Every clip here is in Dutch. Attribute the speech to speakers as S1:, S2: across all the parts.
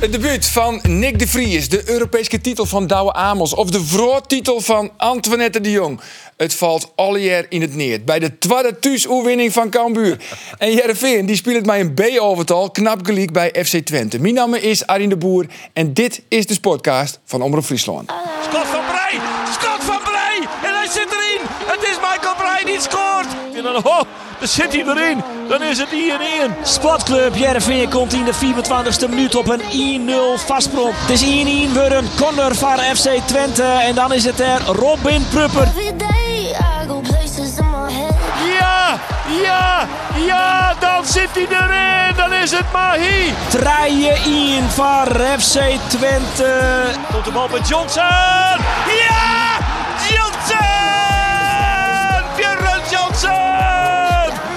S1: Het debuut van Nick de Vries, de Europese titel van Douwe Amos of de vroortitel van Antoinette de Jong. Het valt alle jaar in het neer. Bij de tweede thuis-oewinning van Cambuur. En Jereveen, die speelt mij een B-overtal, knap gelijk bij FC Twente. Mijn naam is Arjen de Boer en dit is de podcast van Omroep Friesland.
S2: Scott van Brij! Scott van Brij! En hij zit erin! Het is Michael Brij die scoort! En dan, oh, dan zit hij erin! Dan is het 1-1.
S3: Sportclub Jereveen komt in de 24e minuut op een 1-0 voorsprong. Het is 1-1 voor een corner van FC Twente. En dan is het er Robin Prupper.
S4: Every day I go places in my head.
S2: Ja! Ja! Ja! Dan zit hij erin! Dan is het Mahi!
S3: Draaien in van FC Twente.
S2: Komt de bal bij Johnson! Ja! Johnson! Björn Johnson!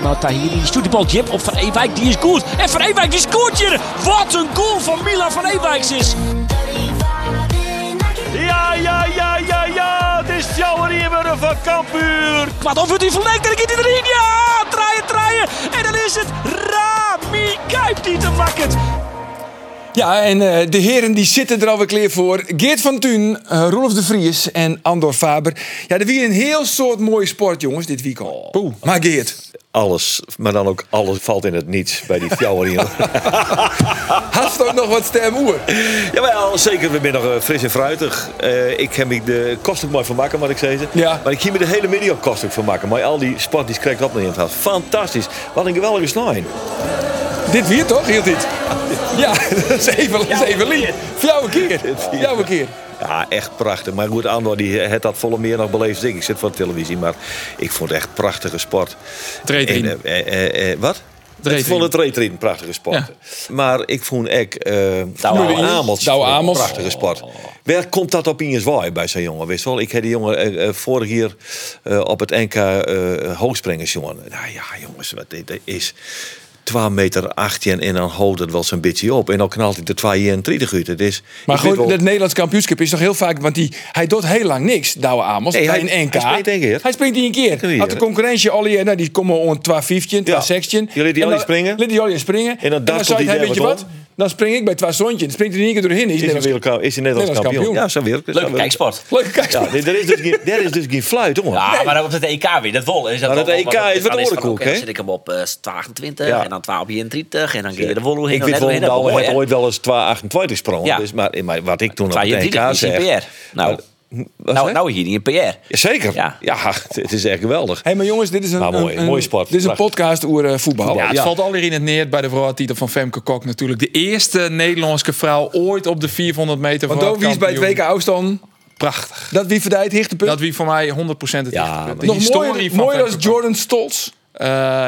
S3: Nou, Tahiri stuurt de bal Jip op Van Ewijk. Die is goed. En Van Ewijk die scoort hier. Wat een goal van Mila Van Ewijk is.
S2: Ja, ja, ja, ja, ja! Het is jouw Riemer van Kampuur!
S3: Maar dan wordt hij verlengd en dan gaat hij erin. Ja, draaien, draaien. En dan is het Rami Kuip die te wakkert.
S1: Ja, en eh, de heren die zitten er alweer klaar voor. Geert van Thun, eh, Rolf de Vries en Andor Faber. Ja, er wie een heel soort mooie sport, jongens, dit weekend. Maar Geert,
S5: alles, maar dan ook alles valt in het niets bij die fjouwerien.
S1: haast ook nog wat stemoer.
S5: Jawel, zeker. We zijn nog eh, fris en fruitig. Eh, ik heb ik de kost ook mooi van maken, wat ik zei. ze.
S1: Ja.
S5: Maar ik hier me de hele middag op kost ook van maken. Maar al die sport die krijgt op naar in gaat. Fantastisch. Wat een geweldige snij.
S1: Dit weer toch, hield dit? Ja, dat is even, dat is even lief. Voor jou een keer. Voor jou een keer.
S5: Ja, echt prachtig. Maar goed, Andor die eh, het dat volle meer nog beleefd. als Ik Ik zit voor de televisie, maar ik vond het echt prachtige sport.
S6: Treedrin.
S5: En, eh, eh, eh, wat?
S6: Treedrin.
S5: Ik vond het treedrin een prachtige sport. Maar ik vond ook eh Douwe
S1: één.
S5: Amels
S1: Douwe
S5: een
S1: Amels.
S5: prachtige sport. Waar komt dat op in je zwaai bij zo'n jongen? Wist wel? Ik heb die jongen eh, eh, vorig jaar eh, op het NK eh hoogspringers jongen. Nou ja, jongens, wat dit is... 12 meter 18 en dan houdt het wel zo'n beetje op. En dan knalt hij de 32 uit. Het is,
S1: Maar
S5: Dus ik weet wel-
S1: goed, het Nederlands kampioenschap is toch heel vaak... Want die, hij doet heel lang niks, Douwe Amos.
S5: Nee,
S1: bij
S5: hij-
S1: een NK.
S5: hij springt één keer.
S1: Hij springt één keer.
S5: keer.
S1: Had de concurrentie al hier... Nou, die komen om 215,
S5: Ja.
S1: 216.
S5: Je
S1: En
S5: liet die al
S1: dan-
S5: niet springen.
S1: Liet die al niet springen.
S5: dan dartelt
S1: zei
S5: hij
S1: hij,
S5: daar
S1: weet je
S5: wat
S1: wat?
S5: om.
S1: Dan spring ik bij twee zontjes. Dan springt hij in één keer doorheen. Is
S5: Is hij,
S1: Nederlands-
S5: wereld, is hij Nederlands
S1: Nederlands
S5: kampioen?
S1: kampioen.
S5: Ja, zo werkt het.
S7: Leuke
S5: Zo werkt het.
S7: kijksport.
S1: Leuke kijk.
S5: Ja, nee, er is dus geen, er is dus geen fluit, jongen.
S7: Ja, maar dan op het EK weer. Dat wol. Is
S5: Maar dat
S7: wel-
S5: EK
S7: dan-
S5: is wat
S7: dan het van,
S5: orenkoek,
S7: oké,
S5: hè?
S7: Dan zit ik hem op eh 28
S5: Ja.
S7: en dan 12 op 31 en dan keer je de wol hoe heen.
S5: Ik
S7: dan
S5: vind
S7: net hoe
S5: wel,
S7: heen,
S5: nou,
S7: dat
S5: het
S7: mooi, hè?
S5: ooit wel eens 228 sprong.
S7: Ja.
S5: Dus, maar, maar wat ik toen op het
S7: 32
S5: NK
S7: is in
S5: zeg...
S7: PR. Nou,
S5: Nou,
S7: nou, nou hier niet in PR.
S5: Zeker. Ja,
S7: Ja.
S5: het- het is echt geweldig.
S1: Hé, maar jongens, dit is een,
S5: Maar Nou, mooi,
S1: een- een-
S5: mooi sport.
S1: Dit is een
S5: Prachtig.
S1: podcast over eh, voetbal.
S6: Ja, het
S5: Ja.
S6: valt al in het neer bij de vrouwtitel van Femke Kok natuurlijk. De eerste Nederlandse vrouw ooit op de 400 meter
S1: Want
S6: voor
S1: Dovi is bij het WK
S6: kampioen.
S1: Oostan.
S6: Prachtig.
S1: Dat wie verdijt het hoogtepunt.
S6: Dat wie voor mij 100% het
S5: Ja,
S6: ja,
S5: maar-
S6: De
S1: Nog
S6: historie
S1: mooier,
S6: van
S1: mooier
S6: Femke
S1: dan
S6: Kok.
S1: Jordan Stolz.
S6: Eh,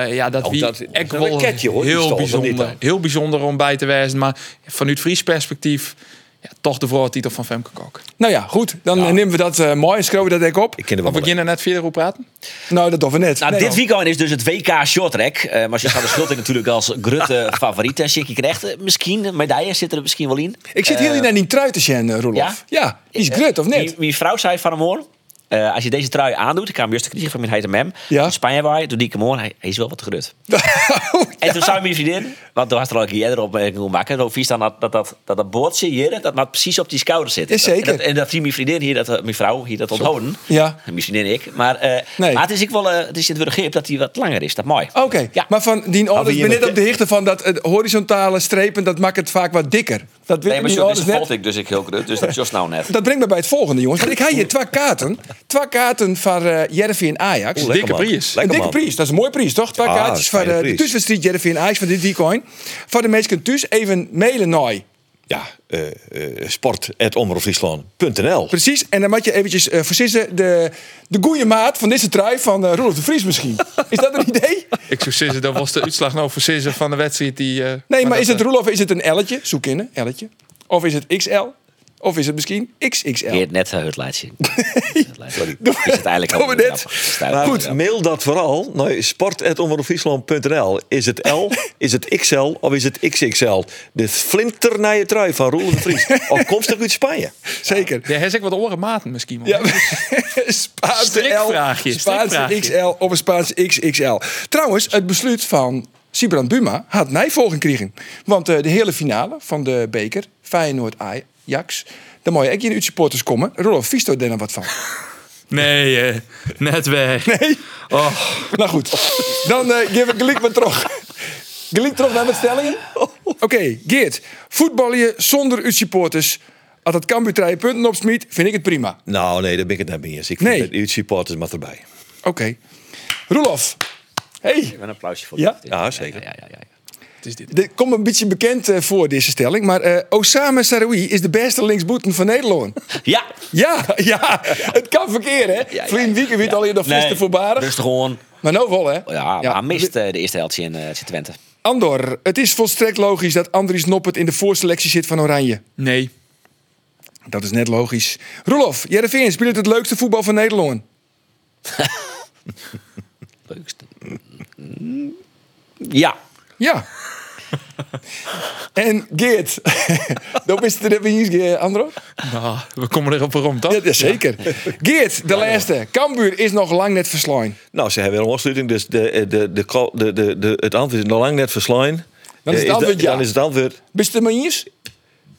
S6: ja, dat
S5: Oh,
S6: wie
S5: dat is
S6: echt
S5: een
S6: wel
S5: raketje, hoor, die
S6: Heel
S5: stond, of niet
S6: bijzonder,
S5: dan?
S6: heel bijzonder om bij te wezen. Maar vanuit Fries perspectief, ja, toch de vrouwtitel van Femke Kok.
S1: Nou ja, goed. Dan eh, nemen we dat eh, mooi en schrijven we dat ook op.
S5: Ik ken er
S6: We
S5: wel van.
S6: beginnen net verder op praten.
S1: Nou, dat doen we net.
S7: Nou,
S1: Nee,
S7: dit
S1: joh.
S7: weekend is dus het WK shorttrack. Eh maar ze gaan de schuldig natuurlijk als Grutte favoriet. En Sikkie krijgt eh, misschien een medaille, zit er misschien wel in.
S1: Ik zit heel niet naar die trui te zien, eh, Roelof. Ja?
S7: Ja?
S1: die
S8: Eh,
S1: is grut, of
S7: Mijn
S1: niet?
S7: Eh, Wie vrouw zei van hem hoor. eh, als je deze trui aandoet, ik kwam juist de kritiek van mijn heet hem.
S1: Ja.
S7: In Spanje waar, toen die ik hem hoor, hij, hij is wel wat grut. En toen zei mijn vriendin, want toen was er al een keer eerder eh, opmerking hoe maken. Hoe vies dan dat, dat, dat, dat, dat boordje hier, dat nou precies op die schouder zit.
S1: Is zeker.
S7: En dat, en dat die mijn vriendin hier, dat, eh, mijn vrouw hier dat onthouden.
S1: Ja.
S7: Mijn vriendin en ik. Maar, eh,
S1: Nee. Oh,
S7: maar het is ook wel, eh, het is het weer een grip dat hij wat langer is. Dat is mooi.
S1: Oké,
S7: Ja.
S1: maar van die
S5: Maar
S1: orders,
S5: wie
S1: ik ben net
S5: iemand-
S1: op de hichte van dat eh, horizontale strepen, dat maakt het vaak wat dikker. Dat,
S7: Nee,
S1: weet
S7: maar
S1: die
S7: zo is
S1: orders
S7: het
S1: net.
S7: valt ik dus ik heel grut. Dus dat is nou net.
S1: dat brengt me bij het volgende, jongens. Want ik heb hier twee kaarten. Twee kaarten voor eh Jervy en Ajax.
S5: Oeh, lekker,
S6: Dikke
S5: man.
S6: prijs.
S1: een
S5: Lekker,
S1: dikke
S5: man.
S1: prijs, dat is een mooie prijs, toch? Twee
S5: Ah,
S1: kaartjes voor
S5: fijne
S1: eh, de
S5: prijs.
S1: thuiswedstrijd Jervy en Ajax van dit weekend. Voor de mensen thuis even mailen naar
S5: Ja, eh eh sport.omroepfriesland.nl.
S1: Precies, en dan moet je eventjes eh verzissen de, de goede maat van deze trui van eh Roelof de Vries misschien. Is dat een idee?
S6: Ik zou zeggen, dat was de uitslag nou voor Sisse van de wedstrijd die... eh,
S1: Nee, maar, is
S6: dat,
S1: het Roelof, is het een L'tje? Zoek in, een L'tje. Of is het XL? Of is het misschien XXL?
S7: Je het net eh, het laat zien. Sorry. Is het eigenlijk
S1: doe
S7: al
S1: maar net.
S5: Maar goed, mail dat vooral naar sport.omroepfriesland.nl. Is het L, is het XL of is het XXL? De flinternije trui van Roel de Vries. Afkomstig uit Spanje.
S1: Zeker.
S6: Ja, hij zegt wat oren maten misschien wel.
S1: Ja, Spaanse
S6: Strikvraagje,
S1: L, Spaanse
S6: strikvraagje.
S1: XL of een Spaanse XXL. Trouwens, het besluit van Sibran Buma had nijvolging kregen. Want eh, de hele finale van de beker, Feyenoord Ajax... daar moet je echt in supporters komen. Rolof Visto deed er wat van.
S6: Nee, eh, net weg.
S1: Nee.
S6: Oh.
S1: nou goed, dan eh geef ik gelijk maar terug. Gelijk terug naar mijn stellingen. Oké, Geert. Voetbal je zonder uw supporters. Als dat Cambuur drie punten opsmiet, vind ik het prima.
S5: Nou, nee, daar ben ik het net mee eens. Ik vind
S1: Nee.
S5: dat uw supporters maar erbij.
S1: Oké. Roelof. Hey,
S7: Een applausje voor
S1: Ja?
S7: dit.
S5: Ja, zeker.
S7: Ja, ja, ja, ja.
S1: dit komt een beetje bekend eh, voor, deze stelling. Maar eh, Osama Saroui is de beste linksboeten van Nederland.
S7: ja.
S1: ja, ja, het kan verkeer, hè?
S7: ja, ja.
S1: Vriend Wieken weet al je dat vliste
S7: Nee,
S1: voorbarig.
S7: Rustig gewoon.
S1: Maar nou wel, hè?
S7: Ja, maar hij mist eh, de eerste helft in eh, FC Twente.
S1: Andor, het is volstrekt logisch dat Andries Noppert in de voorselectie zit van Oranje.
S6: Nee.
S1: Dat is net logisch. Roelof, Jereveen speelt het leukste voetbal van Nederland.
S7: Leukste. Mm, Ja.
S1: Ja. en Geert, dat is het er even hier, Andro.
S6: Nou, we komen erop rond, toch?
S1: Ja, ja, zeker. Geert, de laatste. Cambuur is nog lang net verslaan.
S5: Nou, ze hebben weer een afsluiting. Dus de, de, de, ko- de, de, de, het antwoord is nog lang net verslaan.
S1: Dan is het
S5: Eh,
S1: antwoord ja.
S5: Dan is het antwoord.
S1: Bist het er maar eens?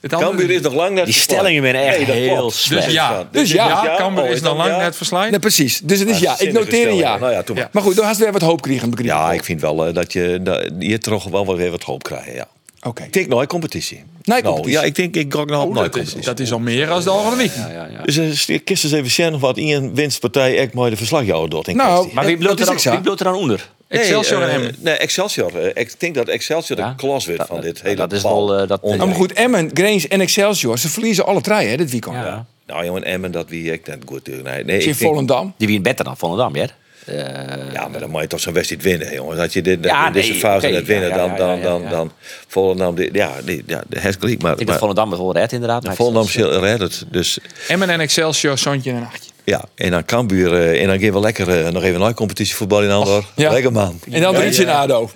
S6: Het
S5: Cambuur is nog lang net
S7: Die
S5: verslaan.
S7: stellingen zijn echt
S5: Nee, dat
S7: heel
S5: klopt.
S7: slecht.
S6: Dus ja.
S5: Dus
S6: Dus
S1: ja.
S6: ja, Cambuur
S5: Oh,
S6: is
S5: is
S6: nog
S5: dat
S6: lang
S5: ja?
S6: net verslaan.
S1: Nee, precies. Dus het is ja. Ik
S5: zinnige
S1: noteer een
S5: stelling.
S1: ja.
S5: Nou ja, doe maar.
S1: Maar goed, dan had ze weer wat hoop kregen, begreep ik.
S5: Ja, ik vind wel eh, dat je dat, je toch wel weer wat hoop krijgt. Ja.
S1: Oké.
S5: Ik denk nooit competitie.
S1: Nee,
S5: Nou,
S1: competitie.
S5: ja, ik denk ik ga ook nog op nooit
S6: dat, is,
S5: competitie.
S6: dat is al meer als de andere week.
S5: Dus eh, kist eens even zien of wat één winstpartij echt mooi de verslagjouwer doet. in
S1: Nou,
S5: kwestie.
S7: Maar wie
S1: dat
S7: bloot
S1: is
S7: er dan-
S1: ik zo.
S7: wie bloot er dan onder?
S6: Excelsior
S5: nee,
S6: en
S5: eh,
S6: Emmen.
S5: Nee, Excelsior. eh, ik denk dat Excelsior
S7: Ja.
S5: de klas werd
S7: Dat-
S5: van dit
S7: dat-
S5: hele
S7: dat is
S5: bal.
S7: wel, eh, dat-
S5: onder.
S1: Ja, maar Nou goed, Emmen, Grains en Excelsior, ze verliezen alle drie hè, dit weekend. Ja.
S7: Ja.
S5: Nou jongen, Emmen, dat wie ik net goed doe. Nee, nee, ik
S1: In
S5: denk-
S1: Volendam.
S7: Die wie in beter dan Volendam, ja? Eh,
S5: Ja, maar dan moet je toch zo'n wedstrijd winnen, jongen. Dat je dit,
S7: Ja,
S5: in deze
S7: nee,
S5: fase
S7: oké,
S5: net winnen,
S7: ja, ja,
S5: dan,
S7: ja,
S5: dan,
S7: ja,
S5: dan,
S7: ja.
S5: dan Volendam, die, ja, die, ja, de heeft gelijk, maar,
S7: ik
S5: maar
S7: denk dat Volendam het wel redt inderdaad. maar ik-
S5: Volendam zal- redt het. Dus
S6: Emmen en Excelsior, Sontje en Achtje.
S5: ja, en dan Cambuur, eh, en dan gaan we lekker eh, nog even een competitievoetbal in Andor.
S1: ja.
S5: Lekker man.
S1: En dan drie in ADO.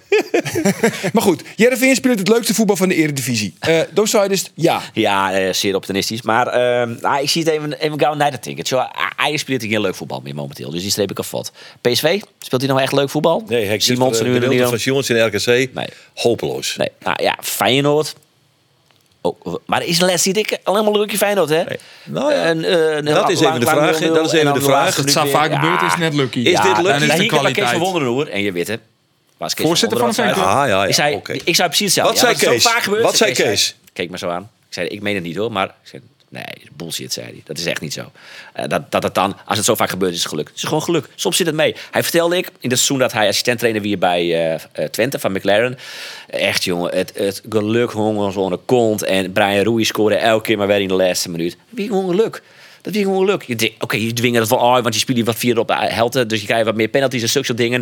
S1: maar goed, Jereveen speelt het leukste voetbal van de eredivisie. Eh Doosai is ja.
S7: Ja, eh, zeer optimistisch. Maar ehm, nou, ik zie het even, even gauw naar de ticket. Zo, A- Ajax speelt natuurlijk heel leuk voetbal meer momenteel. Dus die streep ik kapot. PSV, speelt hij nou echt leuk voetbal?
S5: Nee, ik
S7: Simons nu en
S5: de
S7: Leon.
S5: van Simons in RKC.
S7: Nee.
S5: Hopeloos.
S7: Nee, nou ja, Feyenoord. Oh, maar is Les niet ik alleen maar leuke Feyenoord, hè?
S5: Nou ja,
S7: En, eh, een
S5: dat is
S7: lang-
S5: even de
S7: lang
S5: vraag,
S7: 0-0
S5: dat is
S7: en
S5: even
S7: dan
S5: de
S7: de
S5: vraag. Het
S7: laatste
S6: Het
S7: minuut
S6: staat
S7: weer.
S6: vaak
S7: Ja. nou,
S6: gebeurd, is net lucky.
S5: Is dit
S7: dan
S5: lucky?
S6: Dan is de
S7: hier kwam Kees
S6: kwaliteit.
S7: van Wonderen hoor. En je weet het. Was Kees
S6: Voorzitter van de
S7: Wonderen aan het
S5: fanclub. Ah,
S7: zeggen?
S5: ja, ja,
S7: Ik zei,
S5: oké.
S7: ik zei precies hetzelfde.
S5: Wat
S7: Ja,
S5: zei
S7: dat is zo
S5: Kees?
S7: vaak gebeurd.
S5: Wat zei Kees?
S7: Kijk maar zo aan. Ik zei, ik meen het niet hoor. Maar ik zei, nee, dat is bullshit zei hij. Dat is echt niet zo. Eh, dat, dat het dan, als het zo vaak gebeurt, is het geluk. Het is gewoon geluk. Soms zit het mee. Hij vertelde ik, in het seizoen dat hij assistent trainer weer bij eh, eh, Twente van McLaren. Echt jongen, het, het geluk hong ons onder de kont. En Brian Rui scoorde elke keer maar weer in de laatste minuut. Wie gewoon geluk. Dat is gewoon leuk. Je denkt, Oké, je dwingt het wel uit, want je speelt hier wat vier op de helden. Dus je krijgt wat meer penalties en zulke soort dingen.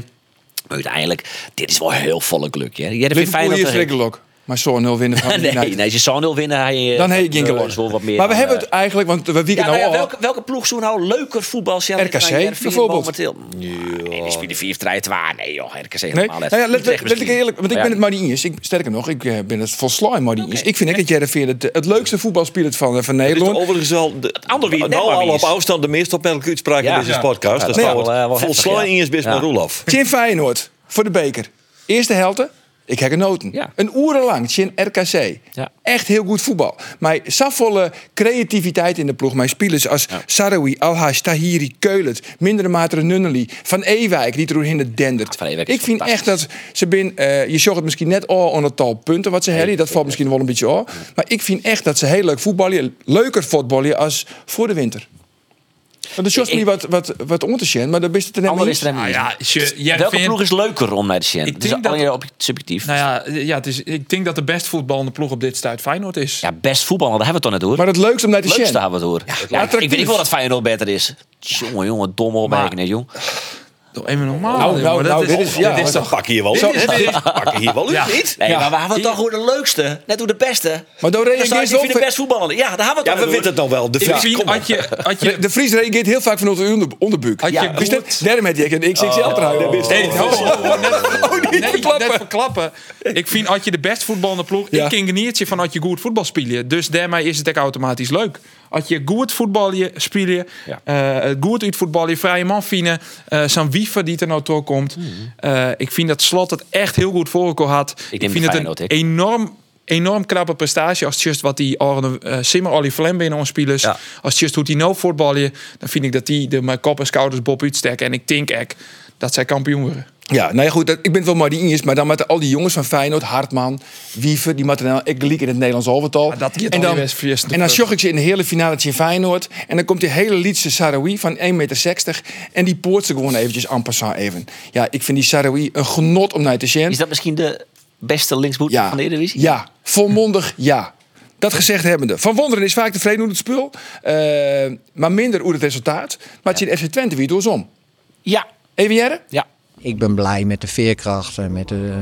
S7: Maar uiteindelijk, dit is wel heel volle geluk. Hè? Jij vindt fijn
S1: Liverpool
S7: dat
S1: hier schrikkelijk. Maar zo'n 0 winnen van
S7: Nee,
S1: United.
S7: nee, als je zou nul winnen, hij, eh,
S1: Dan heb je
S7: eh,
S1: geen
S7: is
S1: gewonnen.
S7: wel wat meer
S1: Nou, Maar we
S7: dan,
S1: hebben
S7: eh,
S1: het eigenlijk, want we wieken
S7: ja, nou
S1: nou
S7: ja,
S1: al.
S7: welke, welke ploeg zoen nou leuker voetbal?
S1: RKC bijvoorbeeld.
S7: Nee, die spelen vier strijd waar. Nee joh, RKC
S1: Nee,
S7: helemaal
S1: nou
S7: net.
S1: ja, let,
S7: Utrecht
S1: let ik
S7: misschien.
S1: eerlijk, want ik
S7: Maar
S1: ben het
S7: ja,
S1: maar niet eens. Ik, sterker nog, ik eh, ben het volslagen maar niet eens. Ik vind echt dat Jereveen het, het leukste voetbal speelt van, eh, van
S5: Het is
S1: Nederland.
S5: overigens al de,
S7: andere wie het
S5: nou
S7: net maar
S5: al
S7: wie
S5: op
S7: is.
S5: afstand de meest opmerkelijke uitspraak
S7: Ja.
S5: in deze
S7: Ja.
S5: podcast. Dat
S7: Ja,
S5: staat
S7: wel, eh, wel
S5: wordt
S7: heftig,
S5: volslaan
S7: ja.
S5: in je best
S7: Ja.
S5: met Roelof.
S1: Tjen Feyenoord voor de beker. Eerste helte, ik heb genoten.
S7: Ja.
S1: Een oerenlang, Tjen RKC.
S7: Ja.
S1: Echt heel goed voetbal. Maar safvolle creativiteit in de ploeg. Mijn spelers als Sarawi, Alhaj, Tahiri, Keulet, mindere mate Nunnely, Van Ewijk, die doorheen het dendert.
S7: Van Ewijk is
S1: ik vind echt dat
S7: fantastisch.
S1: ze bin, eh, je zocht het misschien net al aan het tal punten wat ze hebben. Dat valt misschien wel een beetje al. Maar ik vind echt dat ze heel leuk voetballen. Leuker voetballen als voor de winter. Want dat is
S7: Ik-
S1: niet wat, wat, wat om te zien, maar dat is het er net
S7: Ander
S1: mee
S7: is er helemaal
S6: Nou
S7: niet.
S6: ja, je, jij
S7: Welke
S6: vindt-
S7: ploeg is leuker om naar de Shen? Het is
S6: denk dat-
S7: alleen op- subjectief.
S6: Nou ja, ja het is, ik denk dat de best voetballende ploeg op dit stuit Feyenoord is.
S7: Ja, best voetbal, daar hebben we het toch net over.
S1: Maar het leukste om naar te zien.
S7: Leukste hebben we het over. Ja, ik
S1: attractief.
S7: weet ik wel dat Feyenoord beter is. Jongen, jongen, domme opmerkingen, jong.
S6: Doe even normaal.
S1: Nou,
S6: jongen.
S1: nou,
S6: Dat
S1: nou, dit is- ja,
S6: dit is
S1: dat
S6: toch...
S5: pak je hier wel
S6: Zo-
S5: in. hè?
S6: dit is-
S5: Pak je hier wel in, niet?
S7: Nee, maar we hadden toch hoe de leukste. Net hoe de beste.
S1: Maar door
S7: Dan zou ik
S1: reageert
S7: die
S1: wel
S7: vind de best voetballer. Ja, daar hebben we
S5: Ja,
S7: het
S5: we
S7: over.
S5: weten het dan wel. De
S6: Ik
S5: Vries,
S6: vind,
S5: kom op.
S6: had je... Had je
S1: De Vries reageert heel vaak vanuit de onder- onderbuik.
S6: Had je Oh.
S1: Ja, dus
S6: Boert-
S1: dat- daarom heb je echt een XXL-trui.
S5: dat is-
S6: Nee, ho, ho, ho, net, net,
S1: Oh, verklappen.
S6: net verklappen. Ik vind als je de best voetballende ploeg,
S1: Ja.
S6: ik ken geniertje van als je goed voetbal spelen. Dus daarmee is het ook automatisch leuk. Als je goed voetbal spelen, eh, goed uitvoetbal, je vrije man vinden, eh zo'n wiever die er nou toe komt.
S7: Hmm.
S6: Eh, ik vind dat Slot het echt heel goed voor elkaar had.
S7: neem
S6: Ik,
S7: de
S6: vind het een
S7: Feyenoord, ik.
S6: enorm enorm knappe prestatie als just wat die Arne eh, Simmer Olly Flem binnen ons spelers
S7: Ja.
S6: als just hoe die nou voetballen dan vind ik dat die de mijn kop en schouders Bob uitsteken en ik denk echt dat zij kampioen worden
S1: Ja, nou ja, goed, dat- ik ben het wel maar die eens, maar dan met al die jongens van Feyenoord, Hartman, Wiever, die materiaal, ik liek in het Nederlands overtal.
S6: dat gaat
S1: en
S6: al
S1: dan,
S6: die best verjestend
S1: en dan
S6: op, eh.
S1: zocht ik ze in de hele finale in Feyenoord. En dan komt die hele Lietse Sarawi van 1,60 meter en die poort ze gewoon eventjes en passant even. Ja, ik vind die Sarawi een genot om naar te zien.
S7: Is dat misschien de beste linksboot
S1: ja.
S7: van de Eredivisie?
S1: Ja, volmondig ja. Dat gezegd hebbende. Van Wonderen is vaak tevreden hoe het spul, eh, maar minder hoe het resultaat. Maar het zit FC Twente weer door om.
S7: Ja.
S1: Even Jere?
S7: Ja.
S8: Ik ben blij met de veerkracht en met de,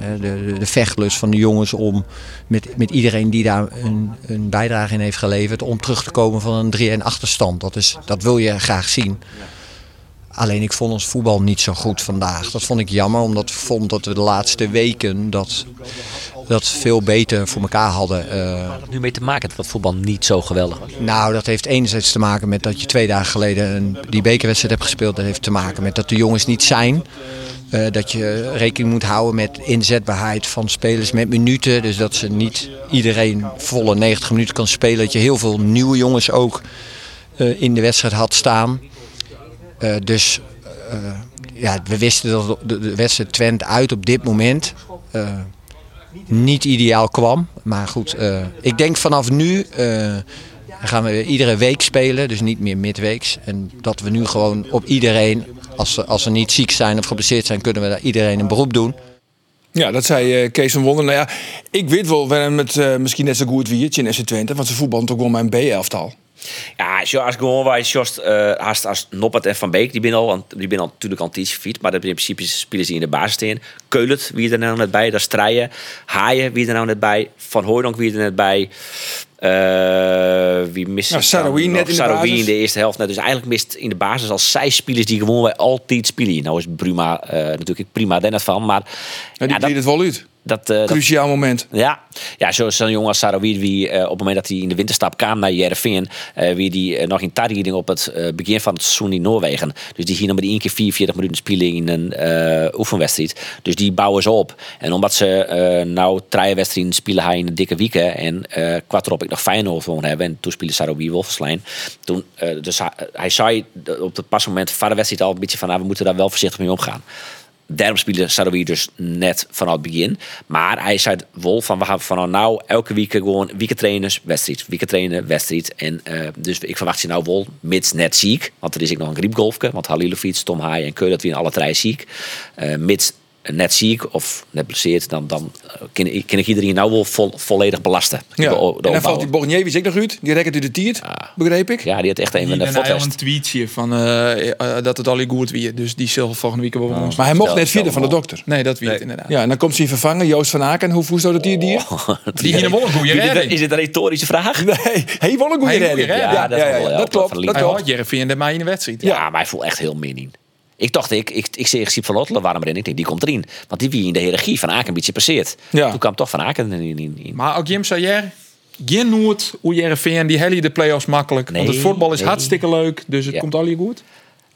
S8: eh, de, de, de vechtlust van de jongens om met, met iedereen die daar een, een bijdrage in heeft geleverd om terug te komen van een 3 en achterstand. Dat, is, dat wil je graag zien. Alleen ik vond ons voetbal niet zo goed vandaag. Dat vond ik jammer, omdat ik vond dat we de laatste weken dat, dat veel beter voor elkaar hadden. eh,
S7: Had het nu mee te maken dat dat voetbal niet zo geweldig was?
S8: nou, dat heeft enerzijds te maken met dat je twee dagen geleden een, die bekerwedstrijd hebt gespeeld. Dat heeft te maken met dat de jongens niet zijn. Eh, dat je rekening moet houden met inzetbaarheid van spelers met minuten. Dus dat ze niet iedereen volle 90 minuten kan spelen. Dat je heel veel nieuwe jongens ook eh, in de wedstrijd had staan. Eh, dus eh, ja, we wisten dat de, de wedstrijd Twent uit op dit moment eh, niet ideaal kwam. Maar goed, eh, ik denk vanaf nu eh, gaan we iedere week spelen, dus niet meer midweeks. En dat we nu gewoon op iedereen, als ze, als ze niet ziek zijn of geblesseerd zijn, kunnen we daar iedereen een beroep doen.
S1: Ja, dat zei eh, Kees van Wonder. Nou ja, ik weet wel waarom het eh, misschien net zo goed wie in SC Twente. Want ze voetballen toch wel mijn B-elftal. Nou,
S7: Ja, zo- als ik gewoon wij Jost, eh als, als Noppert en Van Beek, die binnen al, die binnen al natuurlijk al tijdje fit, maar dat in principe spelen ze in de basis in. Keulert, wie er nou net bij, daar Strijen, Haaien, wie er nou net bij, Van Hooydonk, wie er net bij. Eh, wie mist
S1: Nou,
S7: ik dan
S1: Saroui
S7: nog?
S1: net in de
S7: Saroui
S1: basis.
S7: in de eerste helft net. Dus eigenlijk mist in de basis al zij spelers die gewoon wij altijd spelen. Nou is Bruma eh, natuurlijk prima daar net van, maar
S1: Nou, die
S7: ja,
S1: deed
S7: dat,
S1: het wel uit.
S7: dat, eh, dat
S1: Cruciaal moment.
S7: ja, ja zo- zo'n jongen als Sarawir, die eh, op het moment dat hij in de winterstap kwam naar Jereveen, eh wie die eh, nog in tarrieding op het eh, begin van het seizoen in Noorwegen. Dus die ging dan maar één keer 44 minuten spelen in een eh, oefenwedstrijd. Dus die bouwen ze op. En omdat ze eh nou drie wedstrijden spelen hij in een dikke weken en eh kwart erop ik nog Feyenoord gewoon hebben en toen speelde Sarawir Wolfenslijn. Toen, eh, dus hij, hij zei op het pas moment van de wedstrijd al een beetje van, nou, we moeten daar wel voorzichtig mee omgaan. Daarom spelen Saroui dus net vanaf het begin. Maar hij zei Wolf van we gaan vanaf nou elke week gewoon weken trainen, wedstrijd, weken trainen, wedstrijd. En eh, dus ik verwacht ze nou Wol, mits net ziek, want er is ik nog een griepgolfje, want Halilovic, Tom Haaien en Keur dat we in alle drie ziek, Eh, mits net ziek of net blesseerd, dan, dan eh, kan, ik- kan ik iedereen nou wel vol- volledig belasten.
S1: Ja.
S7: De o- oh, de
S1: En dan
S7: opbouw. Ah.
S1: valt die Borgnjevic ook nog uit. Die rekkert u de tiert, begreep ik.
S7: ja, die had echt een van
S6: Die
S7: de
S6: ben hij al een
S7: fottest.
S6: tweetje van eh, eh, dat het al goed weer. Dus die zal volgende week
S7: Oh.
S6: wel ons.
S1: Maar hij mocht
S7: Stel-
S1: net vierde
S7: stel
S1: van de dokter.
S6: Nee, dat weet het inderdaad.
S1: Ja, en dan komt ze hier vervangen. Joost van Aken. Hoe voest dat het hier? dier?
S6: Die hier wel een goede
S7: Is dit,
S6: redding.
S7: is dit een retorische vraag?
S1: Nee, hij won een goede
S6: Hij won een
S1: redding.
S6: goede
S1: Ja,
S6: redding.
S1: ja,
S7: dat
S1: ja,
S7: zal wel
S1: ja, dat
S7: helpen
S1: klopt.
S7: van
S1: Dat
S6: Hij
S1: klopt.
S6: had Jervin en mij in de wedstrijd.
S7: Ja, maar hij voelt echt heel min in. Ik dacht, ik, ik, ik zie Siep van Lottelen, waarom erin? Ik denk, die komt erin. Want die wie in de hiërarchie van Aken een beetje passeert.
S1: Ja.
S7: Toen kwam toch Van Aken in. in, in.
S6: Maar ook Jim Sayer. Geen nood hoe Jervin die helle de play-offs makkelijk.
S7: Nee,
S6: want het voetbal is
S7: nee.
S6: hartstikke leuk. Dus het
S7: Ja.
S6: komt al je goed.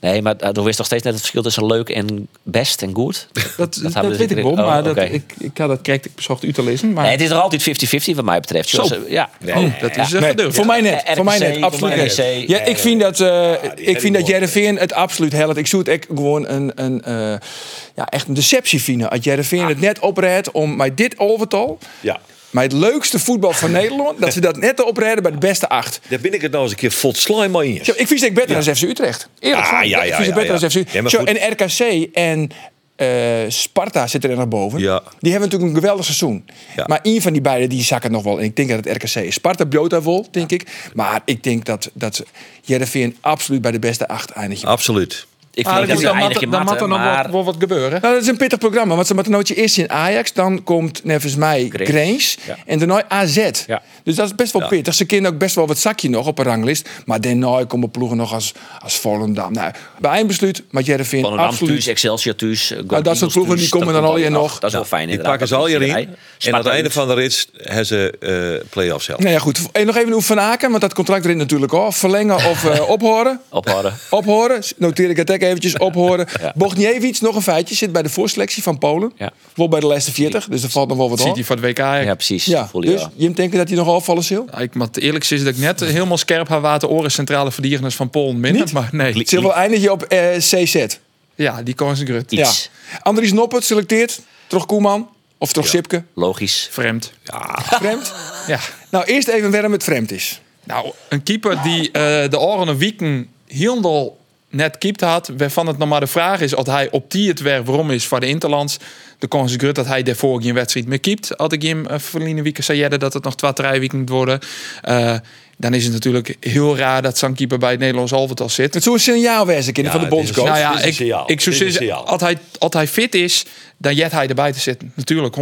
S7: Nee, maar eh, er is toch steeds net het verschil tussen leuk en best en goed?
S6: Dat, dat,
S7: hadden we
S6: weet ik
S7: dus-
S6: wel.
S7: oh,
S6: Maar dat,
S7: oké.
S6: ik, ik had dat krijgt ik bezocht u te lezen. Maar
S7: Nee, het is nog altijd 50-50 wat mij betreft.
S6: Zo.
S7: Zoals, eh, ja.
S6: Oh, dat is
S1: Nee,
S6: echt gedurfd.
S1: voor mij net,
S7: RKC,
S1: voor mij net, absoluut
S7: voor
S1: net.
S7: mij RKC.
S1: Ja, ik vind dat, eh ik vind dat Jereveen het absoluut helpt. Ik zoet echt gewoon een, een eh, ja, echt een deceptie vinden. Als Jereveen het net opredt om met dit overtal,
S5: Ja.
S1: met het leukste voedbal van Nederland, dat ze dat net opredden bij de beste acht.
S5: Daar ben ik het nou eens een keer volslagen mee eens.
S1: Zo, ik vind het beter dan FC Utrecht. Eerlijk
S5: Ah,
S1: waar.
S5: ja, ja,
S1: ik vind
S5: ja,
S1: het beter
S5: ja.
S1: dan FC
S5: Ja,
S1: Utrecht.
S5: maar
S1: Zo,
S5: goed.
S1: en RKC en eh, Sparta zitten er nog boven.
S5: Ja.
S1: Die hebben natuurlijk een geweldig seizoen.
S5: Ja.
S1: Maar één van die beiden die zakken nog wel. En ik denk dat het RKC is. Sparta bloot daar wel, denk ik. Maar ik denk dat, dat Jereveen absoluut bij de beste acht eindigt.
S5: Absoluut.
S7: Ik
S6: Maar
S7: vind dat
S6: dan moet-
S7: ze
S6: dan
S7: eindig
S6: moet-
S7: in
S6: dan moet
S7: matten,
S6: er nog wat-
S7: maar...
S6: wel wat gebeuren.
S1: Nou, dat is een pittig programma. Want ze moeten nootje eerst in Ajax. Dan komt, nevens mij,
S7: Grains.
S1: Grains.
S7: Ja.
S1: En daarna AZ.
S7: Ja.
S1: Dus dat is best wel pittig. Ze kennen ook best wel wat zakje nog op een ranglist. Maar daarna komen ploegen nog als, als Volendam. Nou, bij een besluit, maar Jervin,
S7: Volendam
S1: absoluut.
S7: thuis, Excelsior thuis,
S6: Ah,
S7: eh, Go
S1: dat
S7: Eagles
S1: soort ploegen, die
S7: thuis,
S1: komen
S7: dat
S1: dan
S7: komt
S1: al
S7: allemaal
S1: in nog.
S7: Dat is wel fijn
S5: Die
S7: inderdaad.
S5: pakken ze
S7: Dat
S5: al
S7: is
S5: je
S7: erbij.
S5: in. En aan het
S7: Sparta
S5: einde
S7: thuis.
S5: van de rits hebben ze eh play-offs zelf.
S1: Nou ja, goed. En nog even hoe Van Aken, want dat contract erin natuurlijk al. Verlengen of eh, ophoren.
S7: Ophouden.
S1: Ophoren, noteer ik het ook eventjes, ophoren. Bogniewicz, nog een feitje, zit bij de voorselectie van Polen.
S7: Ja.
S1: Wordt bij de laatste 40, dus er valt nog wel wat
S6: Ziet
S1: op.
S6: hij van het WK. eigenlijk.
S7: Ja, precies.
S1: Ja,
S7: Voel je
S1: dus
S7: wel.
S1: je denkt dat hij nog afvallen zal?
S6: Ja, Ik moet eerlijk zeggen dat ik net helemaal scherp haar water oren centrale verdedigers van Polen minder. Maar nee,
S1: Zit wel eindig je op eh, CZ.
S6: ja, die kans is grut.
S7: Iets.
S1: Ja. Andries Noppert selecteert, toch Koeman of toch Sipke.
S7: Logisch.
S6: Vreemd.
S1: Vreemd.
S6: Ja.
S1: Nou, eerst even waarom het vreemd is.
S6: Nou, een keeper die eh de oranje weekend heel net keept had, waarvan het nog maar de vraag is of hij op die het werk waarom is voor de Interlands. De kans is groot dat hij daarvoor geen wedstrijd meer keept. Had ik hem uh, verleden weekend zei jij dat het nog twee, drie weken moet worden. Eh, dan is het natuurlijk heel raar dat zo'n keeper bij het Nederlands elftal zit.
S1: Het zou een signaal wezen, kinderen
S5: Ja,
S1: van de
S5: het is een
S1: bondscoach.
S5: signaal.
S6: Nou
S5: dit
S6: ja,
S5: is
S6: ik,
S5: een signaal. Dit
S6: ik zou
S5: is een
S6: zeggen,
S5: signaal.
S6: als hij, als hij fit is, dan jet hij erbij te zitten. Natuurlijk,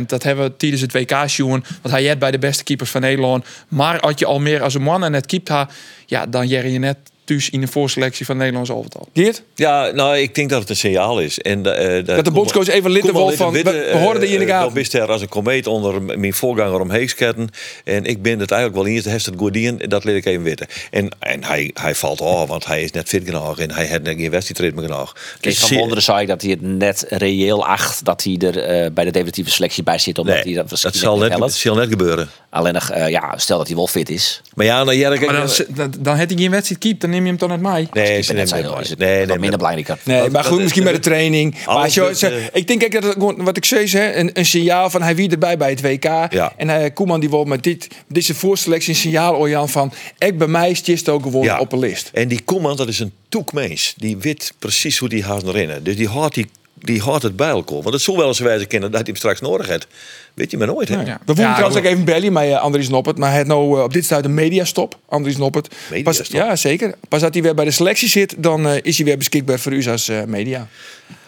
S6: 100%. Dat hebben we tijdens het WK zien. Want hij jet bij de beste keepers van Nederland. Maar als je al meer als een man en net keept, ha, ja, dan jerry je net thuis in de voorselectie van Nederlands elftal.
S1: Geert,
S5: Ja, nou, ik denk dat het een signaal is. En, eh,
S1: dat de bondscoach even lid
S5: Koeman
S1: wil
S5: ligt
S1: van,
S5: in
S1: we,
S5: witte,
S1: we hoorden die in de
S5: eh,
S1: gaten.
S5: Dat wist er als een komeet onder m- mijn voorganger omheen sketten. En ik ben het eigenlijk wel eens. Hij heeft het goed in, dat leer ik even weten. En, en hij, hij valt af, want hij is net fit genoeg. En hij heeft net geen wedstrijd meer genoeg.
S7: Kees van
S5: zeer-
S7: Wonderen zei ik dat hij het net reëel acht dat hij er eh, bij de definitieve selectie bij zit. Omdat
S5: Nee,
S7: hij
S5: dat,
S7: dat,
S5: zal, net,
S7: helpt.
S5: zal net gebeuren.
S7: Alleen nog, eh, ja, stel dat hij wel fit is.
S5: Maar ja, nou, Jerk...
S6: Maar dan, dan, dan had hij geen wedstrijd keept, dan neem je hem toch net mij.
S5: nee,
S7: Ik
S5: ze
S7: ben net
S5: nemen
S7: zei,
S5: hem
S7: joh,
S5: mee.
S7: is het
S5: Nee,
S7: wat
S5: nee,
S7: minder belangrijk.
S1: Nee, maar goed,
S5: dat-
S1: misschien
S5: dat-
S1: bij de training. Maar
S5: Alles
S1: als je-
S5: met,
S1: ze-
S5: eh,
S1: ik denk ook dat het gewoon, wat ik zei, hè, een, een signaal van hij wie erbij bij het WK. En eh, Koeman die wil met dit, dit is een voorselectie, een signaal, Orjan, van ik bij mij is Chisto ook gewoon op een list.
S5: En die Koeman, dat is een toekmeens. Die weet precies hoe die haast naar rennen. Dus die houdt, die, die houdt het bij elkaar. Want het zou wel eens wijze kennen dat hij hem straks nodig heeft. Weet je maar nooit, hè?
S6: Ja.
S1: We voelen
S6: Ja,
S1: trouwens
S6: goed.
S1: ook even bellen met eh, Andries Noppert. Maar hij heeft nou eh, op dit stuit een mediastop. Andries Noppert. Pas,
S5: Mediastop?
S1: ja, zeker. Pas dat hij weer bij de selectie zit, dan eh, is hij weer beschikbaar voor u als eh, media.